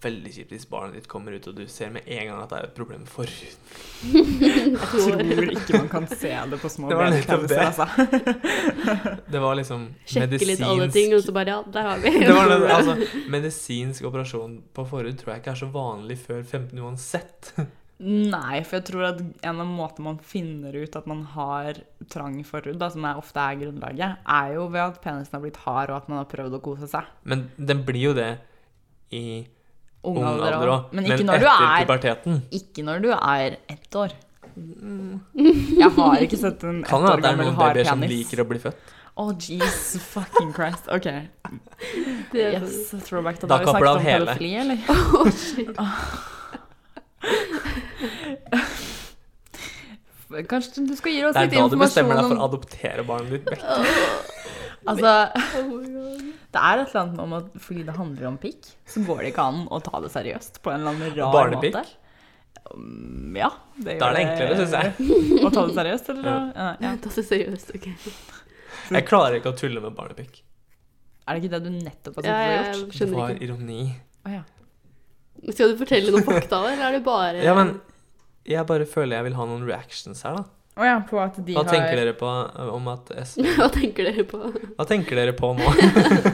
veldig kjipt hvis barnet ditt kommer ut og du ser med en gang at det er et problem for
Jeg tror ikke man kan se det på små
Det var nettopp
benklauser,
det.
altså.
Det var liksom
Sjekke litt alle
medisinsk-
ting, og så bare ja, der har vi.
(laughs) det var det, altså, medisinsk operasjon på forhud tror jeg ikke er så vanlig før 15 uansett.
(laughs) Nei, for jeg tror at en av måtene man finner ut at man har trang forhud, da, som er, ofte er grunnlaget, er jo ved at penisen har blitt hard, og at man har prøvd å kose seg.
Men den blir jo det i
Ung
ung
alder
alder òg.
òg. Men ikke når du
etter
er
puberteten.
Ikke når du er ett år.
Mm. Jeg har ikke sett en ett
Kan det
år
at det er
gammel
noen
hard
babyer som
penis.
liker å bli født?
Å, jeez fucking Christ. OK.
(laughs) Det- (laughs)
Yes, throwback til
Da
da vi snakket
kapper du av
om
hele.
pedofili, eller?
Å, shit.
(laughs)
Kanskje du skal gi oss
Det er
litt
da du
informasjon
bestemmer deg for
om
å adoptere barnet
(laughs)
ditt vekk.
Altså,
Oh my god.
Det er et eller annet om at fordi det handler om pikk, så går det ikke an å ta det seriøst på en eller annen rar
Barnepikk?
måte. Um, Ja. Det
Da er det
gjør
enklere, syns jeg.
(laughs) Å ta det seriøst, eller? Ja. Ja.
Ta det seriøst, OK.
Jeg klarer ikke å tulle med barnepikk.
Er det ikke det du nettopp har
Ja,
sittet og
jeg
gjort?
Det
skjønner
var
ikke.
ironi.
Å ja.
Skal du fortelle noen fakta, eller er det bare
Ja, men jeg bare føler jeg vil ha noen reactions her, da.
Å ja, på at de
Hva
har
tenker dere på eh, om at SV
(laughs) Hva tenker dere på?
Hva tenker dere på nå?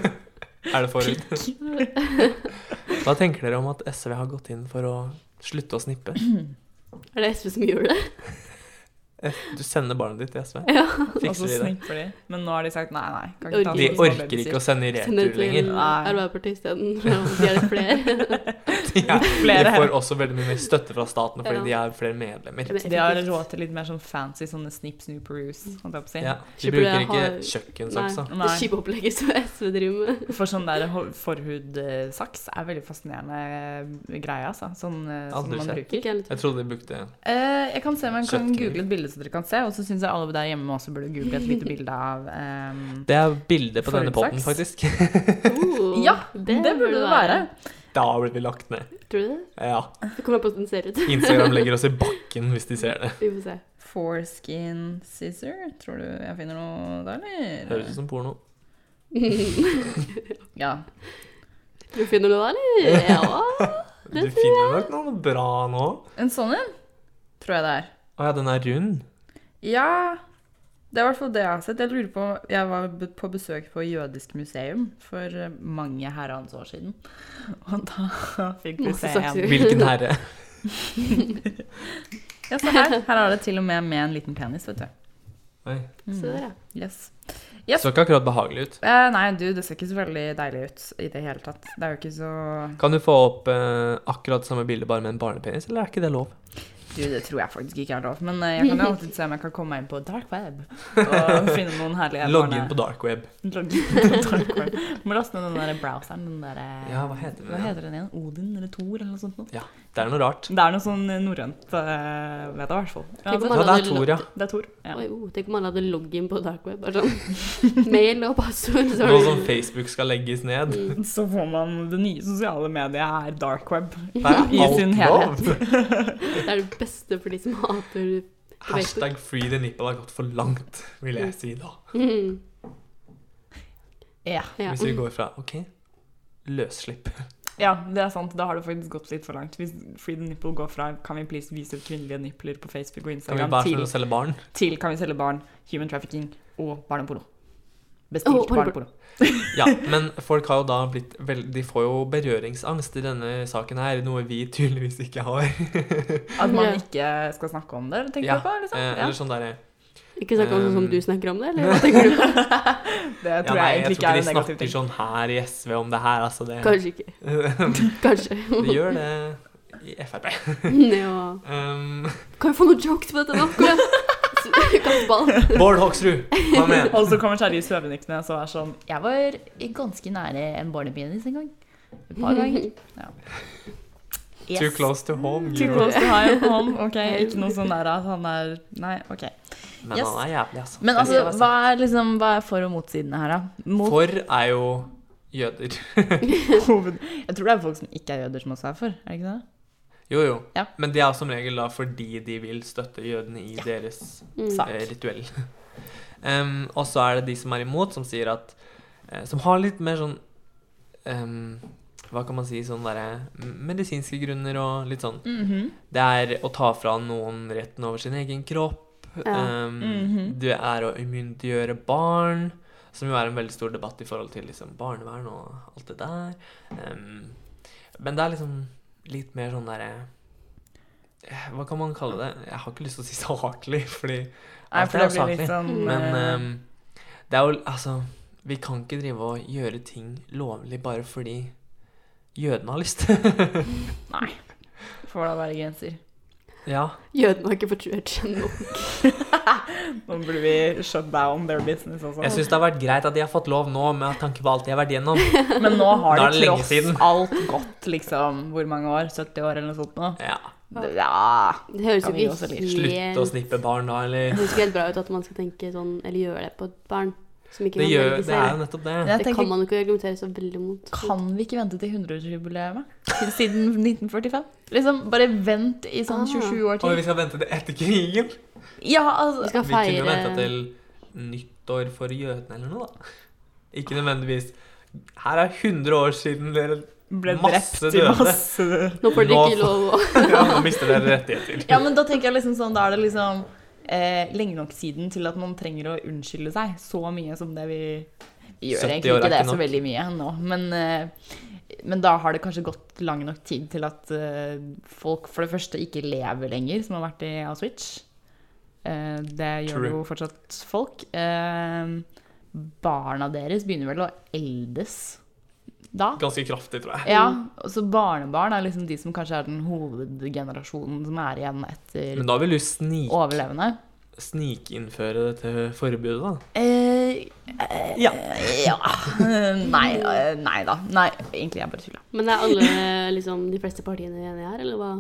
(laughs) er det forhud? Hva tenker dere om at SV har gått inn for å slutte å snippe?
Er det SV som gjør det?
Eh, Du sender barnet ditt til SV.
(laughs) Ja.
Og så
(laughs) Fikser vi det.
snipper Altså, de. Men nå har de sagt nei, nei. Kan
Orker
ta
De
noen som har
orker ikke
babysitter. (laughs)
å sende i
Sender
retur
det
lenger.
til (laughs)
Nei.
Arbeiderpartiet isteden. for De er det
(laughs)
flere.
Ja,
Flere.
De får også veldig mye mer støtte fra staten
Ja.
fordi de er flere medlemmer.
De har råd til litt mer sånn fancy sånne snip, snoop, roose, holdt jeg på å si.
Ja, de
Slipper
bruker
det å
ikke
ha-
kjøkkensaksa.
Nei. Det kjipe opplegget som SV driver med.
For sånn der ho- forhudsaks er veldig fascinerende greie, altså. Sånn eh, som
Aldri
man
sett.
bruker.
Ikke helt.
Jeg trodde de brukte
Eh, jeg kan se om jeg kan
Kjøttkniv.
google et bilde så dere kan se, og så syns jeg alle der hjemme også burde google et lite bilde av ehm,
Det er bildet på denne potten,
Forutsaks.
faktisk.
Oh,
Ja, (laughs) Det burde det være.
(laughs) Da blir vi lagt ned.
Tror du det?
Ja.
Det kommer an på hvordan den ser ut.
Instagram legger oss i bakken hvis de ser det.
(laughs) Vi får se. (laughs)
Foreskin scissor. Tror du jeg finner noe der,
Høres
eller?
ut som porno.
Ja.
Tror du finner noe der,
(laughs)
eller? Ja.
Du finner nok noe bra nå.
En sånn en tror jeg det er.
Å ja, den er rund.
Ja. Det er i hvert fall det jeg har sett. Jeg lurer på, jeg var b- på besøk på jødisk museum for eh, mange herrens år siden. (laughs) Og da fikk vi
Masse
se
sakser.
en.
Hvilken herre?
Ja, se
(laughs)
her. Her er det til og med med en liten penis, vet du.
(laughs)
Mm.
Oi.
Se der, ja.
Yes.
Så ikke akkurat behagelig ut.
Eh, nei, du, det ser ikke så veldig deilig ut i det hele tatt. Det er jo ikke så
Kan du få opp eh, akkurat samme bilde bare med en barnepenis, eller er ikke det lov?
Du, det tror jeg faktisk ikke er lov, men eh, jeg kan jo
(laughs)
alltid se om jeg kan komme meg inn på dark web og finne noen herlige
Logge inn på dark web.
Logg inn på dark web. Må laste ned den der browseren, den der eh,
Ja, hva heter
Hva
den igjen?
heter den igjen? Odin eller Thor eller noe sånt noe?
Det er noe rart.
Det er noe sånn norrønt, eh, vet jeg i hvert fall. Ja,
Tenk om
det,
Ja,
alle
det er
(laughs)
hadde
Tor, ja.
det er Thor. Ja.
Oi, oh, tenk om alle hadde login på dark web. Bare sånn (laughs) mail og passord. så
Nå
har
som
du-
Facebook skal legges
(laughs)
ned.
Mm.
Så får man det nye sosiale mediet er dark web.
(laughs)
Der er
I sin
alt
helhet.
lov.
Det er det beste for de som hater (laughs)
Hashtag free the nipple har gått for langt, vil jeg si da.
mm.
Ja.
ja.
Hvis vi går fra OK, løsslipp.
Ja, det er sant. Da har det faktisk gått litt for langt. Hvis Free the Nipple går fra 'Kan vi please vise kvinnelige nipler på Facebook og
Kan vi
Instagram'
bare
til,
slutte å selge barn?
til 'Kan vi selge barn', human trafficking og barneporno. Bestilt
Å, barneporno.
barneporno.
Ja, men folk har jo da blitt vel, De får jo berøringsangst i denne saken her, noe vi tydeligvis ikke
(laughs)
har.
At man
Ja.
ikke skal snakke om det, tenker
Ja,
jeg på.
eh,
liksom. Ja.
eller sånn derre
Ikke snakk om sånn som
Um.
du snakker om det, eller hva
(laughs)
tenker du?
(laughs) Det
ja,
tror
Nei,
jeg
jeg
egentlig ikke
tror
er
ikke
en
de
negativ
snakker
ting.
sånn her i SV om det her, altså. Det, (laughs)
Kanskje ikke. Kanskje. (laughs)
det gjør det i
(laughs)
Frp.
Ja.
Um,
Kan vi få noen jokes på dette nå? (laughs) Kom igjen. Kastball.
Bård Hoksrud, kom igjen!
Og så kommer Terje Søvnik ned og er sånn 'Jeg var ganske nære en barnepenis en gang'. Et par (laughs) ganger. Ja.
Too close to home.
Too
Guro.
close to high home. Ok, ikke noe sånn der at han er Nei, ok.
Men
Yes.
han er jævlig, altså.
Men
Det skal
altså,
jeg si.
hva er, liksom, hva er for- og motsidene her, da? Mot
For er jo jøder.
(laughs)
(laughs)
hoved... Jeg tror det er folk som ikke er jøder, som også er for. Er det ikke det?
Jo, jo.
Ja.
Men det er som regel da fordi de vil støtte jødene i deres
(laughs) Mm.
Sak.
eh, rituell. (laughs) Em, og så er det de som er imot, som sier at eh, Som har litt mer sånn em, Hva kan man si Sånn derre medisinske grunner og litt sånn
Mhm.
Det er å ta fra noen retten over sin egen kropp.
Ja.
em,
Mhm.
Det er å umyndiggjøre barn, som jo er en veldig stor debatt i forhold til liksom, barnevern og alt det der. Em, men det er liksom litt mer sånn derre eh, Hva kan man kalle det? Jeg har ikke lyst til å si saklig, (laughs) fordi
Nei,
alt
for
er jo
det blir litt
saklig.
sånn
Men
eh,
ehm, det er jo Altså, vi kan ikke drive og gjøre ting lovlig bare fordi jødene har lyst. (laughs)
Får da være grenser.
ja.
Jødene har ikke fått rørt seg nå.
Nå burde vi shut down their business også.
Jeg syns det har vært greit at de har fått lov nå, med tanke på alt de har vært gjennom.
Men nå har
Da
det,
er det lenge
tross
siden.
alt gått liksom hvor mange år? 70 år eller noe sånt nå?
Ja.
Ja.
Det høres
Kan
jo
vi også
ikke
litt
Slutt
helt
å snippe barn, da,
Det
eller
høres ikke helt bra ut at man skal tenke sånn, eller gjøre det på et barn som ikke
Det,
kan
gjør,
velge
det er jo
selv.
nettopp det.
Det,
Jeg tenker,
kan man jo ikke argumentere så veldig mot.
kan vi ikke vente til 100-årsjubileet? Til Siden (laughs) 1945? Liksom, bare vent i sånn
Ah.
27 år
Og
til.
vi skal vente til etter krigen.
Ja, altså
Vi skal
Vi kunne jo venta
feire
til nyttår for jødene eller noe, da. Ikke nødvendigvis Her er 100 år siden dere (laughs)
ble
Masse
drept i
døde.
masse
Nå får dere
Nå
ikke
får-
lov å
ja, Nå mister dere rettigheter.
(laughs) Ja, men da tenker jeg liksom sånn, da er det liksom eh, lenge nok siden til at man trenger å unnskylde seg så mye som det vi vi gjør
70
egentlig
år er
ikke det
ikke
så
nok.
veldig mye nå, men, eh, men da har det kanskje gått lang nok tid til at eh, folk for det første ikke lever lenger, som har vært i Auschwitz.
Eh, det gjør
True.
jo fortsatt folk. Eh, barna deres begynner vel å eldes da?
Ganske kraftig, tror jeg.
Ja, og så barnebarn er liksom de som kanskje er den hovedgenerasjonen som er igjen etter
Men da vil du snik,
overlevende.
snikinnføre dette forbudet, da.
Eh, eh,
Ja.
ja. (laughs) Nei, eh, nei da. Nei, egentlig er jeg bare tulla.
Men er alle liksom, de fleste partiene enige her, eller hva?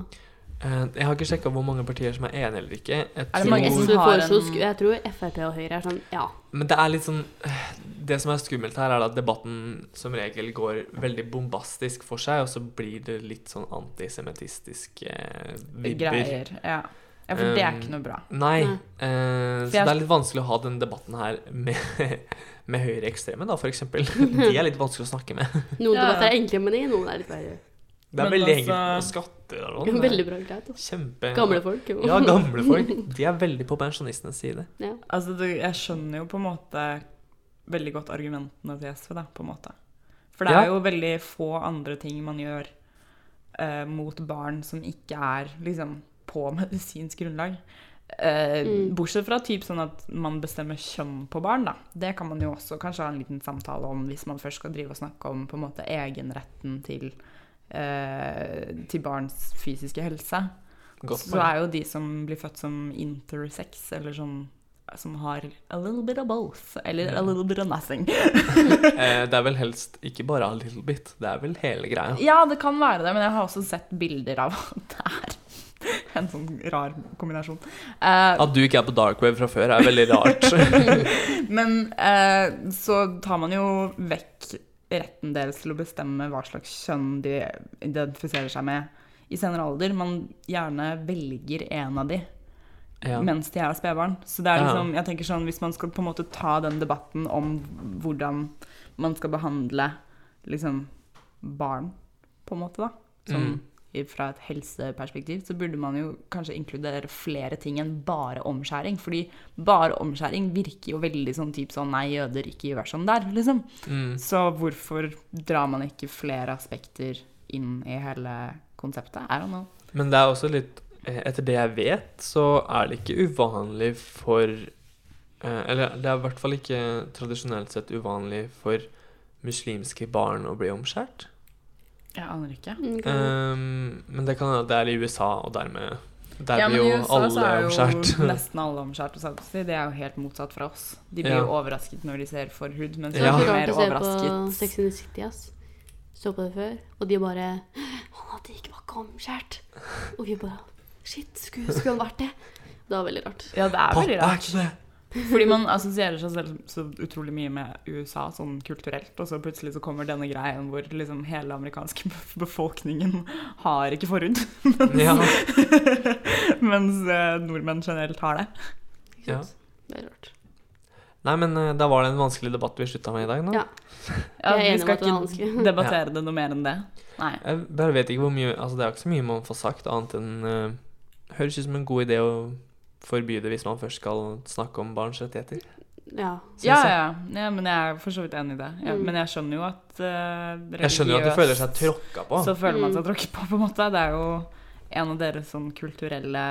Eh, Jeg har ikke sjekka hvor mange partier som er enige eller ikke. Jeg
Er det
tror-
mange
Som
som
du
har
foreslo,
en-
sku- Jeg tror Frp og Høyre er sånn ja.
Men det er litt sånn eh, Det som er skummelt her, er at debatten som regel går veldig bombastisk for seg, og så blir det litt sånn antisemittistiske eh, vibber.
Greier. Ja. ja, for det er
Um,
ikke noe bra.
Nei.
Nei.
eh, så
jeg-
det er litt vanskelig å ha den debatten her med, (laughs) med høyreekstreme, da, for eksempel. De er litt vanskelig å snakke med.
Noen
Ja.
debatter er enkle, men i noen er litt verre.
Det er
Men
veldig
altså-
enkelt å skatte og sånn.
Veldig bra greit. da.
Kjempe
Gamle folk. jo.
Ja, gamle folk. De er veldig på pensjonistenes side.
Ja.
Altså, det, jeg skjønner jo på en måte veldig godt argumentene til SV, da, på en måte. For det
Ja.
er jo veldig få andre ting man gjør eh, mot barn som ikke er liksom på (laughs) medisinsk grunnlag. Eh,
Mm.
Bortsett fra typ sånn at man bestemmer kjønn på barn, da. Det kan man jo også kanskje ha en liten samtale om hvis man først skal drive og snakke om på en måte egenretten til, eh, til barns fysiske helse
Godt
så
poeng.
er jo de som blir født som intersex, eller sånn som har a little bit of both, eller a
Mm.
little bit of nothing.
Eh, det er vel helst ikke bare a little bit, det er vel hele greia.
Ja, det kan være det, men jeg har også sett bilder av at det er (laughs) en sånn rar kombinasjon. Eh,
At du ikke er på dark web fra før, er veldig
(laughs)
rart.
men eh, så tar man jo vekk retten deres til å bestemme hva slags kjønn de identifiserer seg med i senere alder. Man gjerne velger en av de.
Ja.
mens de er spedbarn. Så det er
Ja.
liksom, jeg tenker sånn, hvis man skal på en måte ta den debatten om hvordan man skal behandle liksom barn, på en måte da, sånn
Mm.
i- fra et helseperspektiv, så burde man jo kanskje inkludere flere ting enn bare omskjæring, fordi bare omskjæring virker jo veldig sånn typ sånn, nei, jøder, ikke gjør sånn der, liksom.
Mm.
Så hvorfor drar man ikke flere aspekter inn i hele konseptet? I don't know.
Men det er også litt eh, Etter det jeg vet, så er det ikke uvanlig for eh, Eller det er i hvert fall ikke tradisjonelt sett uvanlig for muslimske barn å bli omskjært.
Jeg aner ikke.
(laughs) Mm, kan-
Um, men det kan hende at det er i USA, og dermed Der
Ja, men
blir jo
i USA så
alle
er jo
omskjært. (laughs)
Nesten alle omskjært på samme tid. Det er jo helt motsatt fra oss. De blir
Ja.
jo overrasket når de ser forhud, men så
Det
Ja.
var
er
så
de mer
rart å se på
overrasket.
Sex and the City, ass. Så på det før, og de bare Han hadde ikke vært omskjært. Og vi bare Shit, skulle, skulle han vært det? Det var veldig rart.
Ja, det er
Pappa
veldig
er
rart.
ikke det!
Fordi man assosierer seg selv så utrolig mye med USA sånn kulturelt, og så plutselig så kommer denne greien hvor liksom hele amerikanske be- befolkningen har ikke forhud, (laughs)
Ja.
mens eh, nordmenn generelt har det.
Ikke
Ja.
sant? Veldig rart.
Nei, men eh, da var det en vanskelig debatt vi slutta med i dag, da.
Ja.
Ja,
Jeg er
vi
enig om
skal
at det er
ikke
vanskelig. (laughs)
debattere det noe mer enn det. Nei.
Jeg bare vet ikke hvor mye Altså, det er jo ikke så mye man får sagt, annet enn eh, Høres ut som en god idé å forby det hvis man først skal snakke om barns rettigheter.
Ja.
synes
Ja,
jeg.
ja, ja, men jeg er for så vidt enig i det. Ja,
Mm.
Men jeg skjønner jo at uh,
Jeg skjønner jo at du føler seg tråkka på.
Så føler man
Mm.
seg tråkket på, på en måte. Det er jo en av deres sånn kulturelle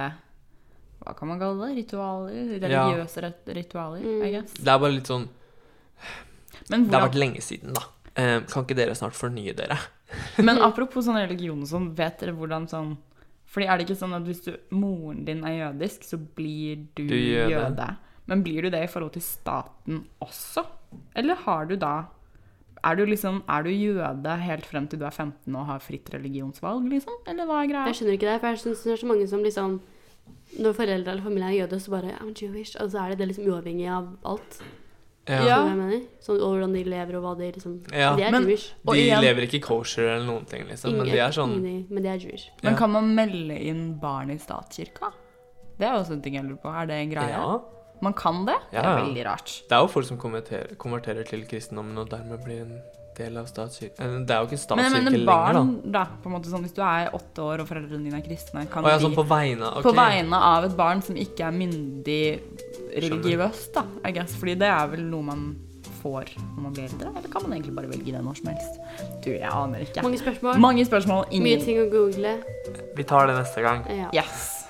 Hva kan man kalle det? Ritualer? Religiøse rit- ritualer,
Mm.
I guess.
Det er bare litt sånn
Men,
Det har vært
hvordan,
lenge siden, da. Eh, kan ikke dere snart fornye dere?
men apropos sånn religion og sånn, vet dere hvordan sånn Fordi er det ikke sånn at hvis du, moren din er jødisk, så blir du,
Du jøde.
jøde. Men blir du det i forhold til staten også? Eller har du da er du, liksom, er du jøde helt frem til du er 15 og har fritt religionsvalg, liksom? Eller hva er greia?
Jeg skjønner ikke det, for jeg syns det er så mange som liksom Når foreldre eller familie er jøde, så bare I'm Jewish. Og så er det det liksom uavhengig av alt.
Ja.
Ja.
Ja.
Jeg mener. Sånn, og hvordan de lever, og hva de liksom
Ja.
De er
Men-
Jewish.
Og
De
igjen-
lever ikke kosher eller noen ting, liksom, men de er sånn
ingen- men de er Jewish.
Men
Ja.
kan man melde inn barn i statskirka? Det er jo også en ting jeg lurer på. Er det en greie?
Ja.
Man kan det? Det
Ja.
er veldig rart.
Det er jo folk som konverterer, konverterer til kristendommen og dermed blir en del av statskirken Det er jo
Men
ikke
jeg
statskirke
mener
lenger, da.
barn, da. på en måte sånn, Hvis du er åtte år og foreldrene dine er kristne, kan
Å ja,
de
sånn på vegne av
på
ok.
vegne av et barn som ikke er myndig religiøst, da, I guess. Fordi det er vel noe man får når man blir eldre? Eller kan man egentlig bare velge det når som helst? Du, jeg aner ikke.
Mange spørsmål.
Mange spørsmål,
Mye
ingen
ting å google.
Vi tar det neste gang.
Ja.
Yes.